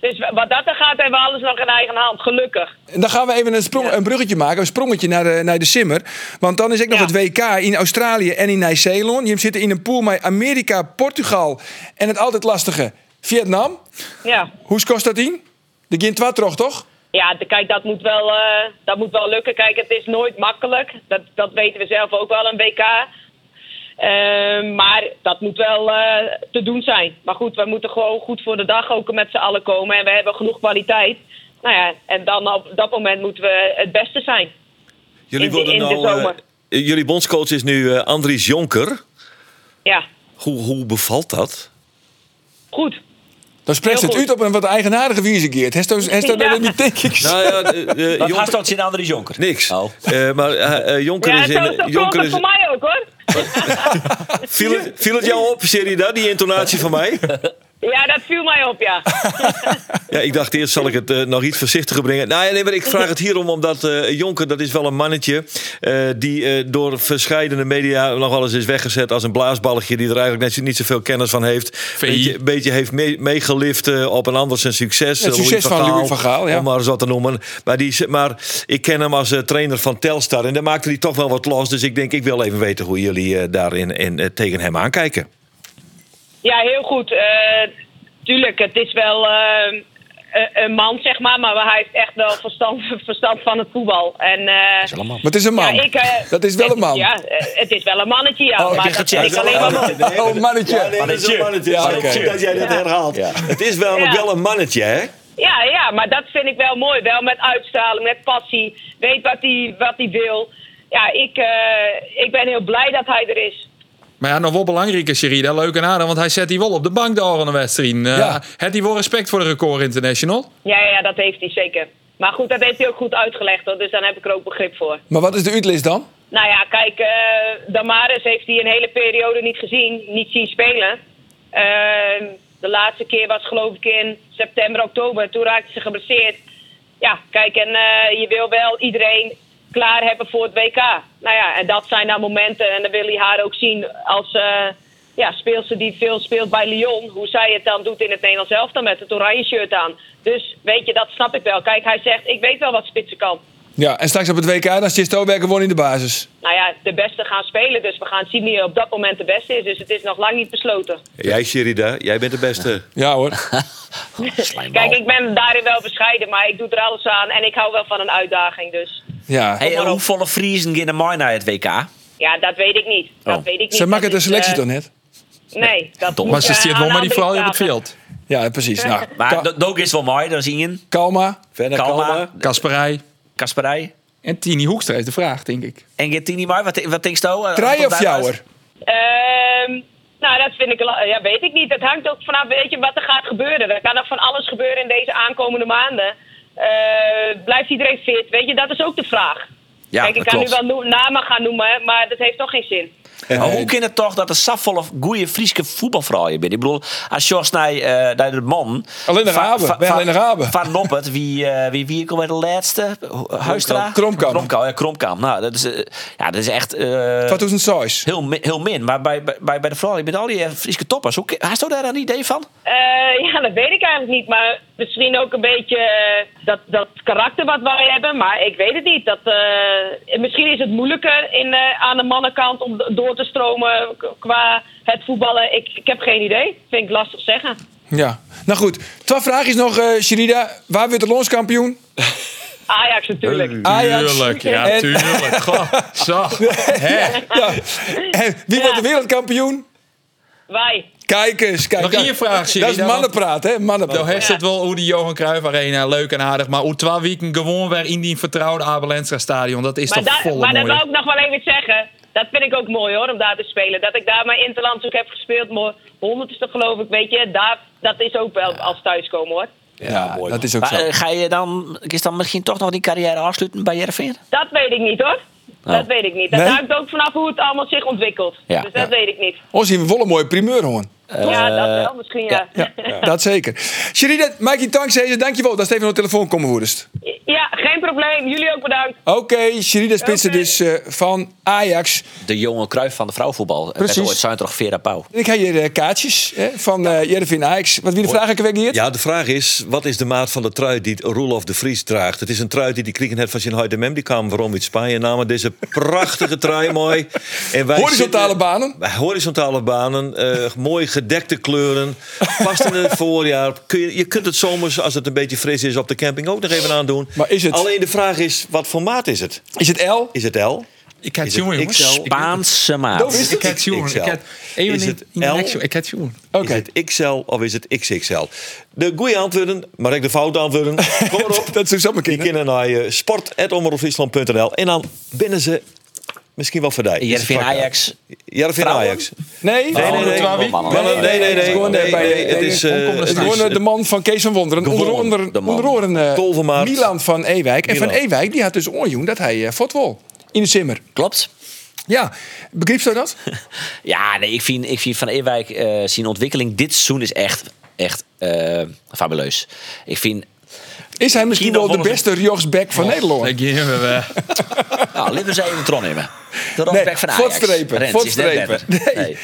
S12: Dus wat dat er gaat, hebben we alles nog in eigen hand, gelukkig.
S1: En Dan gaan we even een, sprong, een bruggetje maken, een sprongetje naar de, naar de Simmer. Want dan is ik nog het WK in Australië en in Nieuw-Zeeland. Je zit in een pool met Amerika, Portugal en het altijd lastige Vietnam.
S12: Ja.
S1: Hoe kost dat in? De Gintwa toch, toch?
S12: Ja, de- kijk, dat moet wel, eh, dat moet wel lukken. Kijk, het is nooit makkelijk. Dat, dat weten we zelf ook wel, een WK. Ehm, maar dat moet wel eh, te doen zijn. Maar goed, we moeten gewoon goed voor de dag ook met z'n allen komen. En we hebben genoeg kwaliteit. Nou ja, en dan op dat moment moeten we het beste zijn.
S5: Jullie
S12: in de,
S5: worden
S12: in de
S5: nou, eh,
S12: zomer.
S5: jullie bondscoach is nu eh, Andries Jonker.
S12: Ja,
S5: Hoe, hoe bevalt dat?
S12: goed.
S1: Dan spreekt
S12: Heel
S1: het
S12: goed.
S1: uit op een wat eigenaardige wijze, Geert. Hesto, hesto
S12: Ja.
S1: dat niet, denk ik.
S5: Nou ja, eh, eh,
S7: Wat
S5: Jonker-
S7: haast dat in Andries Jonker?
S5: Niks. Eh, maar eh, eh, Jonker
S12: Ja,
S5: is
S12: zo, zo
S5: in...
S12: klopt
S5: Jonker
S12: het
S5: is,
S12: voor mij ook, hoor.
S5: viel, het, viel het jou op, Sherida, die intonatie van mij?
S12: Ja, dat viel mij op, ja.
S5: Ja, ik dacht eerst zal ik het eh, nog iets voorzichtiger brengen. Nou, ja, nee, maar ik vraag het hierom omdat eh, Jonker, dat is wel een mannetje... eh, die eh, door verscheidene media nog wel eens is weggezet als een blaasbalgje... die er eigenlijk net zo- niet zoveel kennis van heeft. Beetje, beetje heeft mee- meegelift eh, op een ander zijn succes.
S1: Het
S5: eh,
S1: succes van Louis van Gaal, ja.
S5: Om maar eens wat te noemen. Maar, die, is- maar ik ken hem als eh, trainer van Telstar en daar maakte hij toch wel wat los. Dus ik denk, ik wil even weten hoe jullie eh, daarin en, eh, tegen hem aankijken.
S12: Ja, heel goed. Eh, tuurlijk, het is wel eh, een- een man, zeg maar. Maar hij heeft echt wel verstand, verstand van het voetbal. En, eh,
S1: Maar het is een man.
S12: Ja, ik, eh,
S1: dat is wel een man.
S12: Ja, eh, het is wel een mannetje, ja.
S1: Oh, ik
S12: maar
S1: dacht
S12: dat
S1: dat
S12: vind
S1: jij-
S12: ik alleen maar... mooi.
S1: Oh, mannetje.
S5: Ja, nee, dat is een mannetje.
S1: Ja,
S5: Maar
S1: oké.
S5: goed dat jij dat
S12: Ja.
S5: herhaalt. Het is wel,
S12: Ja.
S5: wel een mannetje, hè?
S12: Ja, ja, maar dat vind ik wel mooi. Wel met uitstraling, met passie. Weet wat hij wat hij wil. Ja, ik, eh, ik ben heel blij dat hij er is.
S6: Maar ja, nog wel belangrijker, Sherida. Leuk en aardig, want hij zet die wel op de bank de aan de wedstrijd. Eh,
S1: Ja.
S6: Heeft hij wel respect voor de record international?
S12: Ja, ja, dat heeft hij zeker. Maar goed, dat heeft hij ook goed uitgelegd, hoor. Dus daar heb ik er ook begrip voor.
S1: Maar wat is de uitlist dan?
S12: Nou ja, kijk, eh Damaris heeft hij een hele periode niet gezien, niet zien spelen. Ehm, de laatste keer was geloof ik in september, oktober. Toen raakte ze geblesseerd. Ja, kijk, en eh, je wil wel iedereen klaar hebben voor het WK. Nou ja, en dat zijn nou momenten. En dan wil hij haar ook zien als eh ja, speelster die veel speelt bij Lyon. Hoe zij het dan doet in het Nederlands elftal met het oranje shirt aan. Dus weet je, dat snap ik wel. Kijk, hij zegt, ik weet wel wat spitsen kan.
S1: Ja, en straks op het WK, dan zit Stowerker gewoon in de basis.
S12: nou ja, de beste gaan spelen. Dus we gaan zien wie op dat moment de beste is. Dus het is nog lang niet besloten.
S5: Jij, Sherida, jij bent de beste.
S1: Ja hoor.
S12: Kijk, ik ben daarin wel bescheiden, maar ik doe er alles aan. En ik hou wel van een uitdaging. Dus
S1: Ja.
S7: Hey, en hoe volle Friesen gaan er mooi naar het WK?
S12: ja, dat weet ik niet. Dat
S7: Oh.
S12: weet ik niet.
S1: Ze maken
S12: Dat
S1: de
S12: is,
S1: selectie
S12: eh,
S1: toch net?
S12: Nee, dat moet,
S6: Maar ze
S12: eh,
S6: zit
S12: aan
S6: wel
S12: de
S6: maar die vrouw op
S12: andere
S6: het
S12: tafel.
S6: veld.
S1: Ja, precies. Nou,
S7: Maar
S1: Ka-
S7: dat dat ook is wel mooi, dat is Ian.
S1: Kalma.
S5: Verder
S7: Kalma,
S6: Kasperij.
S7: Kasperij.
S6: En Tini Hoekstra is de vraag, denk ik.
S7: En Gettini maar, wat, wat denk je nou?
S6: Trij of jouwer?
S12: Ehm, nou, dat vind ik, la- ja, weet ik niet. Dat hangt ook vanaf, weet je, wat er gaat gebeuren. Er kan nog van alles gebeuren in deze aankomende maanden. Eh, blijft iedereen fit? Weet je, dat is ook de vraag.
S7: Ja,
S12: Kijk, ik
S7: dat
S12: kan
S7: klopt.
S12: nu wel no- namen gaan noemen, maar dat heeft toch geen zin.
S7: Maar hoe kan het toch dat er safvolle, goede Friese voetbalvrouwen bent? Ik bedoel, als Jos naar, eh, naar de man...
S1: Alleen de
S7: van-
S1: Raben,
S7: van-
S1: wij
S7: van-
S1: alleen de Raben.
S7: Van Noppert, wie, eh wie, wie komt bij de laatste? eh, Huistra?
S1: Kromkamp.
S7: Kromkamp, ja, Kromkamp. Nou, dat is, eh, ja, dat is echt... eh
S1: 2006.
S7: Heel, mi- heel min, maar bij, bij, bij de vrouwen, met al die eh, Friese toppers, hoe, hast daar een idee van?
S12: Eh, ja, dat weet ik eigenlijk niet. Maar misschien ook een beetje eh, dat, dat karakter wat wij hebben. Maar ik weet het niet. Dat, eh, misschien is het moeilijker in, eh, aan de mannenkant om door te stromen k- qua het voetballen. Ik, ik heb geen idee. Vind ik lastig zeggen.
S1: Ja. Nou goed, twee vraagjes nog, eh Sherida. Waar wordt de landskampioen?
S12: Ajax natuurlijk.
S1: Ajax.
S13: Tuurlijk, ja,
S1: En-
S13: tuurlijk. Goh, zo. Hè?
S1: Ja. En wie wordt de wereldkampioen?
S12: Wij.
S1: Kijk eens, kijk.
S13: Nog
S1: kijk.
S13: één vraag, Sherida,
S1: Dat is mannenpraat, hè? Mannenpraat.
S13: Nou heeft het wel hoe die Johan Cruijff Arena leuk en aardig, maar hoe twee weken gewoon weer in die vertrouwde Abelensra Stadion, dat is
S12: maar
S13: toch
S12: daar-
S13: vol
S12: maar dat
S13: mooi.
S12: wil ik nog wel even zeggen. Dat vind ik ook mooi hoor, om daar te spelen. Dat ik daar mijn interlands ook heb gespeeld. Mooi. Honderdste geloof ik, weet je. Daar, dat is ook wel als thuiskomen hoor.
S1: Ja, dat is ook
S7: Maar,
S1: zo.
S7: eh, ga je dan, is dan misschien toch nog die carrière afsluiten bij Jervin?
S12: Dat weet ik niet hoor. Dat weet ik niet. Dat
S1: Oh. Nee?
S12: hangt ook vanaf hoe het allemaal zich ontwikkelt.
S1: Ja. Eh,
S12: Dus dat weet ik niet.
S1: Ons hier wel een mooie primeur, hoor.
S12: ja, dat wel misschien ja. Ja,
S1: Dat zeker. Sherida, Mikey Tanks, dankjewel dat Steven op de telefoon komen woedest.
S12: geen probleem. Jullie ook bedankt.
S1: Oké, Sherida Spitsen dus eh, van Ajax.
S7: De jonge Cruijff van de vrouwvoetbal.
S1: Precies.
S7: Precies. Ooit zijn toch Vera Pauw.
S1: Ik heb hier eh, kaartjes hè, van eh Jervin Ajax. Wat wie de vraag ik hier?
S5: Ja, de vraag is, wat is de maat van de trui die Roelof de Vries draagt? Het is een trui die die kriegen net van zijn huid de mem. Die kwamen waarom uit Spanje en namen deze prachtige trui mooi. En wij
S1: Horizontale
S5: zitten-
S1: banen.
S5: Horizontale banen, eh, mooi gedekte kleuren. Past in het voorjaar. Kun je, je kunt het zomers, als het een beetje fris is, op de camping ook nog even aandoen.
S1: Maar is het-
S5: Alleen de vraag is, wat voor maat is het?
S1: Is het L?
S5: Is het L?
S13: Ik had
S5: Is het
S13: jongen, jongens.
S5: XL?
S7: Spaanse
S1: Dat is
S7: maat.
S1: het.
S13: Ik had jongen. Ik
S5: XL.
S13: had even
S5: Is
S13: in-
S5: het
S13: in de
S5: L?
S13: action. Ik had jongen.
S1: Oké.
S5: Is het XL of is het XXL? De goede antwoorden, maar ik de foute antwoorden. Kom maar op.
S1: Dat is zo maar
S5: Die
S1: kinderen.
S5: kinderen naar eh, sport.omroepfriesland.nl en dan binnen ze misschien wel verdijkt.
S7: Jervin Ajax.
S5: Jarvin
S7: Vrouwen?
S5: Ajax.
S1: Nee,
S5: Nee, nee, nee.
S13: Oh,
S5: Mannen,
S13: de
S7: mannen.
S5: Nee, nee, nee.
S1: Het is
S5: nee,
S1: gewoon, eh,
S5: nee,
S1: bij-
S5: nee, Het is... eh,
S13: Omkomende
S5: het
S1: Het
S5: is,
S1: is gewoon eh, de man van Kees van Wonderen. Onder,
S5: Gewoon
S1: onder,
S7: de man.
S1: onder anderen, eh,
S5: Tolvermaat.
S1: Milan van Ewijk. En van
S5: Milan.
S1: Ewijk die had dus onjoen dat hij eh fotbal in de simmer.
S7: Klopt.
S1: Ja, begreep je dat?
S7: Ja, nee, ik vind, ik vind Van Ewijk eh zijn ontwikkeling dit seizoen is echt, echt eh, fabuleus. Ik vind...
S1: Is hij misschien
S7: Kino
S1: wel de
S7: Wolfsen.
S1: beste rechtsback van Nederland?
S13: Ik geef hem weg.
S7: Nou, laten we ze even tron nemen. De
S1: Nee,
S7: Roosbeck van Ajax.
S1: voortstrepen,
S7: Rens is net
S1: voortstrepen.
S7: better.
S1: Nee.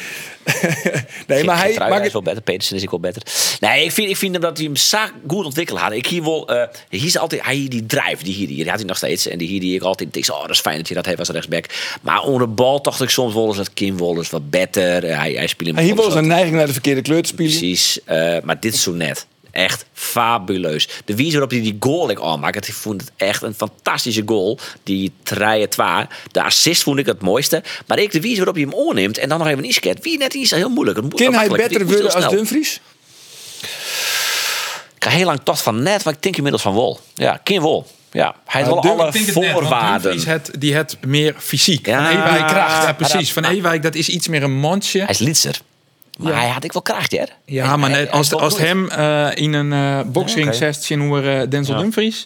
S1: Nee, maar hij...
S7: Geertruida
S1: maar-
S7: is wel beter. Petersen is ik wel beter. Nee, ik vind, ik vind hem dat hij hem zaak goed ontwikkeld had. Ik hier wel, eh, hier is altijd, hij hier die drive, die hier, die, die had hij nog steeds. En die hier die ik altijd denk, oh, dat is fijn dat hij dat heeft als rechtsback. Maar onder de bal dacht ik soms wel eens dat Kim Wollers wat beter. Eh, Hij, hij speelde
S1: en hier
S7: soms
S1: wel eens
S7: wat-
S1: een neiging naar de verkeerde kleur te spelen.
S7: Precies. eh, maar dit is zo net. Echt fabuleus. De wijze waarop hij die goal ik aanmaakt. Ik vond het echt een fantastische goal. Die treien twa. De assist vond ik het mooiste. Maar ik de wijze waarop hij hem oorneemt. En dan nog even een isket. Wie net iets heel moeilijk. Het moet-
S1: Kan hij
S7: makkelijk.
S1: beter
S7: Het moest
S1: worden
S7: heel
S1: als
S7: snel.
S1: Dumfries?
S7: Ik heb heel lang toch van net. Maar ik denk inmiddels van Wol. Ja, Kim Wol. Ja, hij heeft wel alle
S13: Ik denk het net, want
S7: voorwaarden.
S13: Dumfries had- die het meer fysiek.
S7: Ja.
S13: van Ewijk,
S7: Die kracht.
S13: Ja, precies. Van Ewijk, dat is iets meer een mandje.
S7: Hij is Linser. Maar hij had ik wel kracht, hè?
S13: Ja, maar net, als, als het hem eh, in een eh boxring
S7: Ja, oké.
S13: zet zien hoe eh, Denzel Dumfries,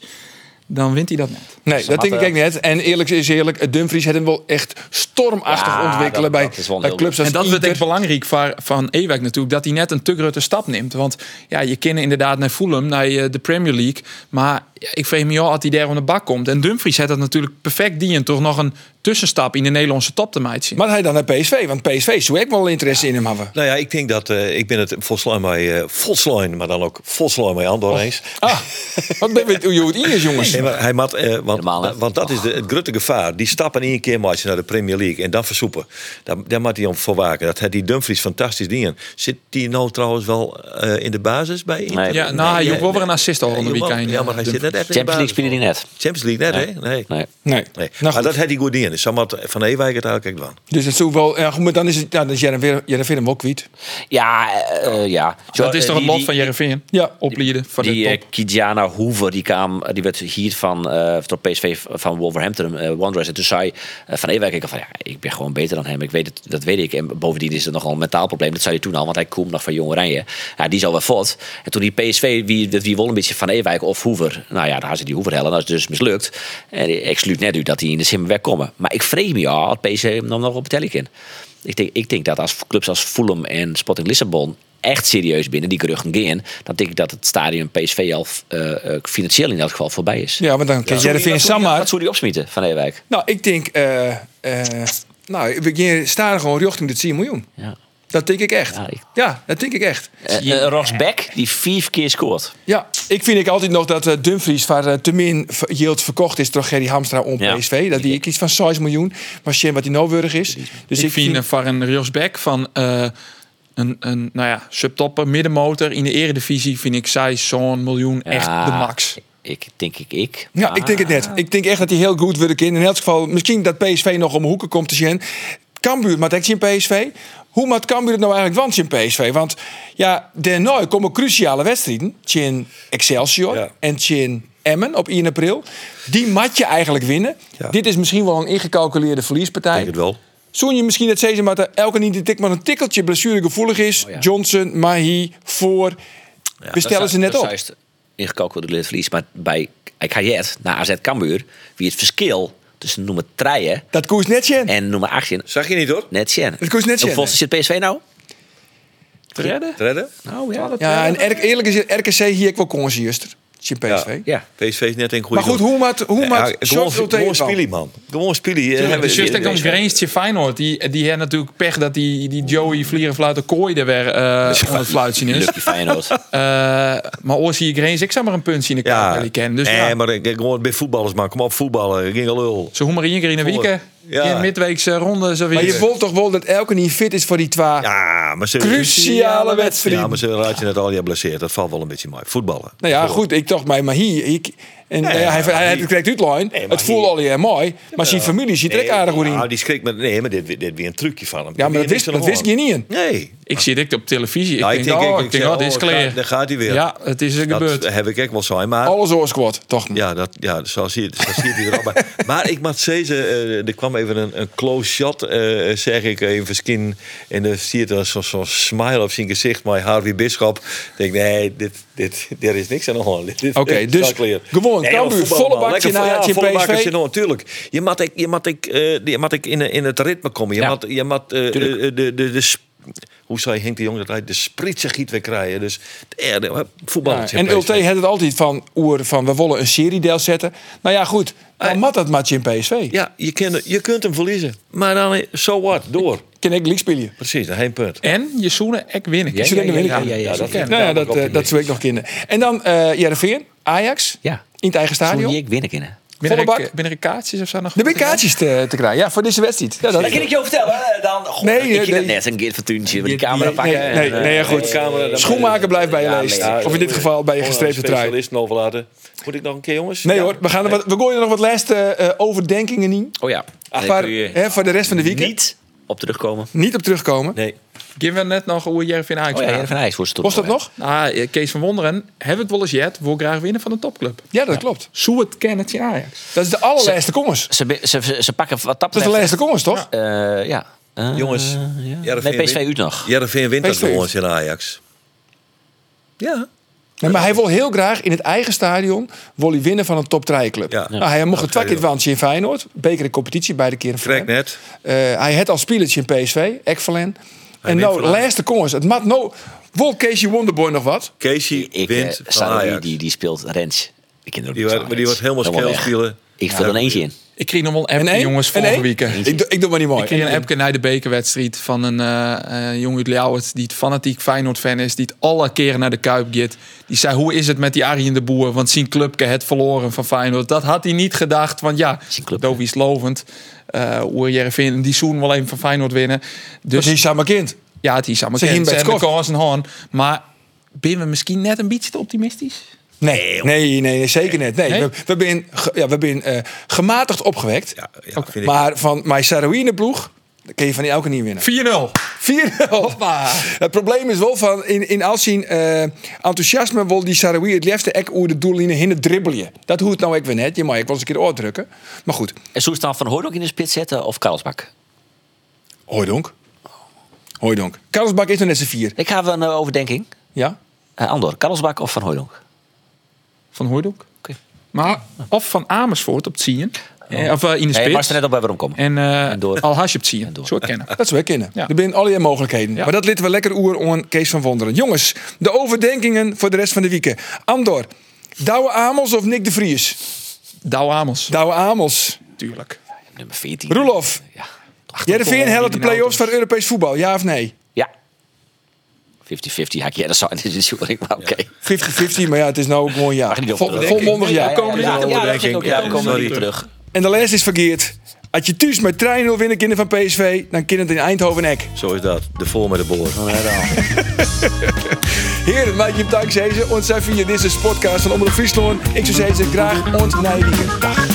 S13: dan wint hij dat net.
S1: Nee, dat denk ik ook net. En eerlijk is eerlijk, Dumfries had hem wel echt stormachtig
S7: Ja,
S1: ontwikkelen
S7: dat-
S1: bij,
S7: dat is wel
S1: bij
S7: heel
S1: clubs als
S13: en dat wordt
S1: Inter.
S13: echt belangrijk voor, van Ewijk natuurlijk, dat hij net een te grote stap neemt. Want ja, je kent inderdaad naar Fulham, naar eh, de Premier League. Maar ja, ik vrees me al als hij daar om de bak komt. En Dumfries had dat natuurlijk perfect dien toch nog een tussenstap in de Nederlandse top te maken zien.
S1: Maar hij dan naar PSV, want PSV zou ik wel interesse in hem hebben.
S5: nou ja, ik denk dat eh, ik ben het volslaan mee, eh volslaan, maar dan ook volslaan mee Andor
S7: Oh.
S5: eens.
S1: Ah, wat ben je hoe het in is, jongens.
S5: Nee, maar hij moet, eh, want,
S7: Normaal, hè? Ah.
S5: want dat is de, het grote gevaar. Die stappen in één keer maar naar de Premier League en dan versoepen. Daar, daar moet hij om voor waken. Dat had die Dumfries fantastisch dingen. Zit die nou trouwens wel eh, in de basis bij Inter?
S7: Nee.
S13: ja, nou, hij
S5: Nee,
S13: joeg wel
S5: nee.
S13: weer een assist al eh,
S5: Ja,
S13: van de
S5: joh,
S13: weekend.
S5: Ja, maar hij zit net even in de
S7: Champions League
S5: basis.
S7: speelde hij net.
S5: Champions League net, hè? Nee.
S7: Nee.
S1: Nee.
S5: Nee.
S1: Nou
S5: maar
S1: goed.
S5: dat had hij goed dingen. Dus Samad van Ewijk het eigenlijk gedaan.
S1: Dus het zou wel... Ja, goed, maar dan is het... Ja, dan is Jaren hem wel kwijt.
S7: Ja, eh, eh, ja. Zo,
S13: dat is
S7: eh,
S13: toch het
S7: die-
S13: lot van
S7: die-
S13: Jereveen?
S1: Ja.
S13: Oplieden van de
S7: Die
S13: top.
S7: eh, Kijana Hoever, die, kwam, die werd hier tweet van, eh, door PSV van Wolverhampton eh, Wanderers. En toen zei eh, Van Ewijk, ik, al van, ja, ik ben gewoon beter dan hem. Ik weet het, dat weet ik. En bovendien is het nogal een mentaal probleem. Dat zei hij toen al, want hij komt nog van Jong Oranje. Ja, die is al wel fort. En toen die PSV, wie, dat wie won een beetje Van Ewijk of Hoever. Nou ja, daar had ze die Hoever hellen. Dat is dus mislukt. En ik sluit net u dat die in de simmer wegkomen. Maar ik vrees me al, had PSV hem dan nog op het telling in. Ik denk, ik denk dat als clubs als Fulham en Sporting Lissabon echt serieus binnen die geruchten gaan, dan denk ik dat het stadion PSV al eh, eh, financieel in elk geval voorbij is.
S1: Ja, want dan kun je
S7: Zou
S1: de
S7: die-
S1: vinger
S7: wat zou die-
S1: Samar-
S7: Wat zou die opsmieten van Ewijk?
S1: Nou, ik denk, eh, eh, nou, we gaan staan gewoon richting de 10 miljoen.
S7: Ja.
S1: Dat denk ik echt. Ja, dat denk ik echt.
S7: Eh eh, Ross Beck, die vijf keer scoort.
S1: Ja, ik vind ik altijd nog dat eh, Dumfries waar eh, te min v- yield verkocht is door Gerry Hamstra om
S7: Ja.
S1: PSV. Dat die ik iets van 6 miljoen, maar shit wat die noodwürdig is. Dus
S6: ik, vind eh, van een Riosbeck van eh, een, een nou ja, subtopper, middenmotor in de eredivisie vind ik zij zo'n miljoen echt
S7: Ja,
S6: de max.
S7: Ik denk ik, ik.
S1: Ja, ik denk het net. Ik denk echt dat hij heel goed wordt in. In elk geval, misschien dat PSV nog om hoeken komt te zien. Cambuur maakt echt in PSV. Hoe maakt Cambuur het nou eigenlijk want in PSV? Want ja, daarna komen cruciale wedstrijden. Chin Excelsior en Chin Emmen op 1 april. Die mat je eigenlijk winnen. Dit is misschien wel een ingecalculeerde verliespartij. Denk
S5: het wel.
S1: Zoen je misschien dat Cezar maar elke niet die tik maar een tikkeltje blessuregevoelig is. Johnson, Mahi, Voor.
S7: Ah,
S1: bestellen ze net op.
S7: Ingekokeld door het verlies. Maar bij Kajet, naar AZ Cambuur, wie het verschil tussen nummer 3
S1: dat koers net
S7: en nummer 18.
S5: Zag je niet hoor?
S7: Net zien.
S1: Dat koers net zien.
S7: Hoe volgens zit PSV nou?
S6: Te redden?
S5: Redden?
S7: Nou ja, dat
S1: Ja, en er- eerlijk is het, RKC hier ook wel consciëster. Chin PSV.
S7: Ja.
S5: PSV is net een goede
S1: Maar goed,
S5: doel.
S1: hoe maakt hoe
S5: Ja,
S1: maakt
S5: gewoon,
S1: Sjors wil
S5: gewoon
S1: tegenvallen?
S5: spelen, man. Gewoon eh, spelen.
S6: Ja, dus juist komt Greensje Feyenoord. Die, die heeft natuurlijk pech dat die, die Joey Vlierenfluiten Kooi er weer eh aan het fluit zien is.
S7: Lucky Feyenoord.
S6: Eh, maar oor zie ik Greens, ik zou maar een punt zien in de kaart die kennen. Dus
S5: nee,
S6: ja,
S5: maar ik, ik- gewoon bij voetballers, man. Kom op, voetballen. Ging al lul.
S6: zo hoe maar in keer in de weekend.
S5: Ja.
S6: In midweekse ronde. Zo weer.
S1: Maar je wilt toch wel dat elke niet fit is voor die twee
S5: Ja, maar ze,
S1: cruciale wedstrijden?
S5: Ja, maar ze raad je net al, ja, blesseerd. Dat valt wel een beetje mooi. Voetballen.
S1: Nou ja, goed, ik dacht bij Mahi. Ik, en,
S5: Nee,
S1: eh, hij, hij, hij
S5: Mahi.
S1: krijgt uitlijn. het voelt al heel mooi. Maar zijn familie ziet er ook aardig goed in.
S5: Nou, die schrikt met... Nee, maar dit, dit, weer een trucje van hem.
S1: Ja, maar dat wist, dat wist je niet. in.
S5: Nee.
S6: Ik zie dit op televisie. Ik
S5: Nou,
S6: denk, oh, ik denk,
S5: zeg,
S6: oh, dit is
S5: daar-
S6: clear.
S5: Daar gaat hij weer.
S6: Ja, het is er
S5: dat
S6: gebeurd. Oh,
S5: heb ik ook wel zo. Maar
S1: Alles oorsquad, toch?
S5: Ja, dat, ja zo zie je, zo zie je het er al bij. Maar ik moet zeggen, eh, er kwam even een, een close shot, eh, zeg ik, even verschin. En dan zie je dan zo- zo'n smile op zijn gezicht, maar Harvey Bisschop. Ik denk, nee, dit, dit, er is niks aan de hand. Dit- dit-
S1: Oké,
S5: dit is
S1: dus
S5: wel clear.
S1: gewoon
S5: maar
S1: Cambuur,
S5: voetbal,
S1: volle
S5: man.
S1: bakje
S5: nou. Lekker
S1: naar
S5: vo- ja,
S1: Ajax en
S5: volle bakje
S1: PSV.
S5: naar- natuurlijk. Je moet ik, je moet ik, eh, je moet ik in, in het ritme komen. Je
S7: Ja.
S5: moet, je moet eh,
S7: Tuurlijk.
S5: eh, de, de, de sp- hoe zei Henk de Jong dat hij de spritse giet weer krijgen. Dus eh, de- voetbal.
S1: Ja, en Ulte had het altijd van, oer, van we willen een seriedeel zetten. Nou ja, goed. Dan mat dat match in PSV.
S5: Ja, je, kunt- je kunt hem verliezen. Maar dan, eh, so what, door.
S1: Ken ik league spelen.
S5: Precies, dat één punt.
S6: En je zoenen ek winnen.
S1: Ik zou winnen.
S6: ja, ja,
S5: dat-
S6: ja.
S1: Nou ja, dat, eh, dat zou ik nog kennen. En dan eh Heerenveen, Ajax.
S7: Ja.
S1: In het eigen
S7: Zou
S1: stadion.
S7: ik winnen kunnen?
S6: Binnen
S1: Volle
S6: er-
S1: bak.
S6: binnen er kaartjes of zo nog?
S1: De winkaartjes te, te krijgen. Ja, voor deze wedstrijd. Ja, dat
S7: Dat kan ik jou vertellen. hè, Dan, Goh,
S1: Nee,
S7: ik ken
S1: nee,
S7: dat
S1: nee.
S7: net. Een keer vertuntje. Die camera
S1: Nee,
S7: pakken.
S1: nee, nee,
S7: en,
S1: nee, ja,
S7: eh,
S1: goed.
S5: camera, dan-
S1: Schoenmaker blijft bij je
S7: Ja,
S1: leest.
S7: nee,
S1: of in dit geval bij je
S5: Gewoon aan de
S1: gestreepte trui.
S5: specialisten overlaten. Moet ik nog een keer, jongens?
S1: Nee
S5: Ja.
S1: hoor, we, gaan er wat, we gooien er nog wat laatste eh, overdenkingen in.
S7: Oh ja. Daar
S1: maar,
S7: kun je
S1: hè, voor de rest van de weekend.
S7: niet op terugkomen.
S1: Niet op terugkomen.
S5: Nee.
S6: Geven we net nog hoe Jervin Ajax
S7: Oh ja,
S6: praat.
S7: Heer van IJs wordt het
S1: Was dat nog?
S6: Nou, eh, Kees van Wonderen, hebben we het wel eens jet, wil graag winnen van de topclub.
S1: Ja, dat klopt.
S6: Zo het kennen in Ajax.
S1: Dat is de allerlaatste komers.
S7: Ze, be- ze, ze, ze pakken wat dat
S1: Dat is de laatste komers, toch?
S7: Eh, ja.
S1: Ah,
S7: Eh,
S5: Jongens,
S7: ja.
S5: Heerenveen
S7: Nee, PSV
S5: wint.
S7: uit nog.
S5: Heerenveen wint dat
S1: PSV.
S5: door ons in Ajax. Ja.
S1: Nee, maar hij wil heel graag in het eigen stadion wil hij winnen van een top 3 club.
S5: Ja.
S1: Nou, hij mocht
S5: Ja,
S1: het twee keer
S5: stadion.
S1: wantje in Feyenoord. Beker en competitie, beide keer een
S5: Krek net.
S1: Eh, Hij had al spielertje in PSV, Ekvalen. En
S5: wint
S1: nou,
S5: van Ajax.
S1: laatste komers. Het mat nou... Wil Casey Wonderboy nog wat?
S5: Casey
S7: Ik, eh,
S5: wint van
S7: Sarri,
S5: Ajax.
S7: die, die speelt Rens. Ik ken er ook
S5: Die
S7: niks
S5: wordt- maar
S7: van,
S5: die
S7: Rens.
S5: wordt helemaal
S7: Dan wel
S5: scheel
S7: weg.
S5: spelen.
S7: Ik vul er eentje in.
S6: Ik kreeg nog wel een appje,
S1: één?
S6: jongens,
S1: Een
S6: vorige
S1: één?
S6: weekend.
S1: Ik doe, ik doe maar niet mooi. E.
S6: Ik kreeg een appje naar de bekerwedstrijd van een eh eh jongen uit Ljouwert... die het fanatiek Feyenoord-fan is, die het alle keren naar de Kuip gaat. Die zei, hoe is het met die Arjen de Boer? Want zien clubke het verloren van Feyenoord. Dat had hij niet gedacht, want ja,
S7: clubke.
S6: Dovi is lovend. Eh Oer Jervin, die zoen wel even van Feyenoord winnen. Dus
S1: Dus hij is samen kind.
S6: Ja, het is allemaal
S1: Ze
S6: bekend.
S1: gingen bij
S6: Ze
S1: het
S6: hebben
S1: kort.
S6: kansen hoorn. Maar ben we misschien net een beetje te optimistisch?
S1: Nee, nee, nee, nee, zeker net. Nee,
S6: Nee?
S1: We, we zijn ge- ja, we zijn, eh, gematigd opgewekt.
S5: Ja, ja, vind ik.
S1: Maar van mijn Sarouine ploeg. Dan kun je van die elke niet winnen.
S13: 4-0.
S1: 4-0. Het probleem is wel van, in, in Alzien eh enthousiasme wil die Sarawi het liefste ek oer de doellijnen hinder dribbelen. Dat hoort nou ik weer net. Je mag ik wel eens een keer oordrukken. Maar goed.
S7: En zo staan Van Hoordonk in de spits zetten of Karlsbak?
S1: Hooidonk. Hooidonk. Karlsbak is er net z'n vier.
S7: Ik heb een eh, overdenking.
S1: Ja?
S7: Eh, Andor, Karlsbak of Van Hooydonk?
S13: Van Hooydonk. Maar of van Amersfoort op het zien. Eh, Of eh, in de
S7: Nee,
S13: spits.
S7: maar ze Oh. net op bij waarom komen.
S13: En, eh
S7: door.
S13: Al Hasje op het zien. Zo kennen.
S1: Dat zou ik kennen.
S13: Ja.
S1: Er zijn allerlei mogelijkheden. Maar dat litten we lekker oer on Kees van Wonderen. Jongens, de overdenkingen voor de rest van de week. Andor, Douwe Amos of Nick de Vries?
S13: Douwe Amos.
S1: Douwe Amos.
S13: Tuurlijk.
S7: Nummer 14.
S1: Roelof, Jereveen
S7: kom,
S1: helpt de play-offs van Europees voetbal, ja of nee?
S7: 50-50 haak jij dat zou in de jury, maar oké.
S1: 50-50, maar ja, het is nou ook gewoon ja.
S7: Mag niet op-
S1: Vol- Volmondig ja.
S7: Ja, ja, ja, ja, ja, dat vind ik ook, ja, we komen er niet terug.
S1: En de les is verkeerd. Als je thuis met trein wil winnen, kinderen van PSV, dan kind het in Eindhoven ek.
S5: Zo is dat. De vol met de boor.
S1: Heren, maak je dank zezen. Ons zijn via deze podcast van Omroep Friesland. Ik zou zeggen, graag ons naar je weekend. Dag.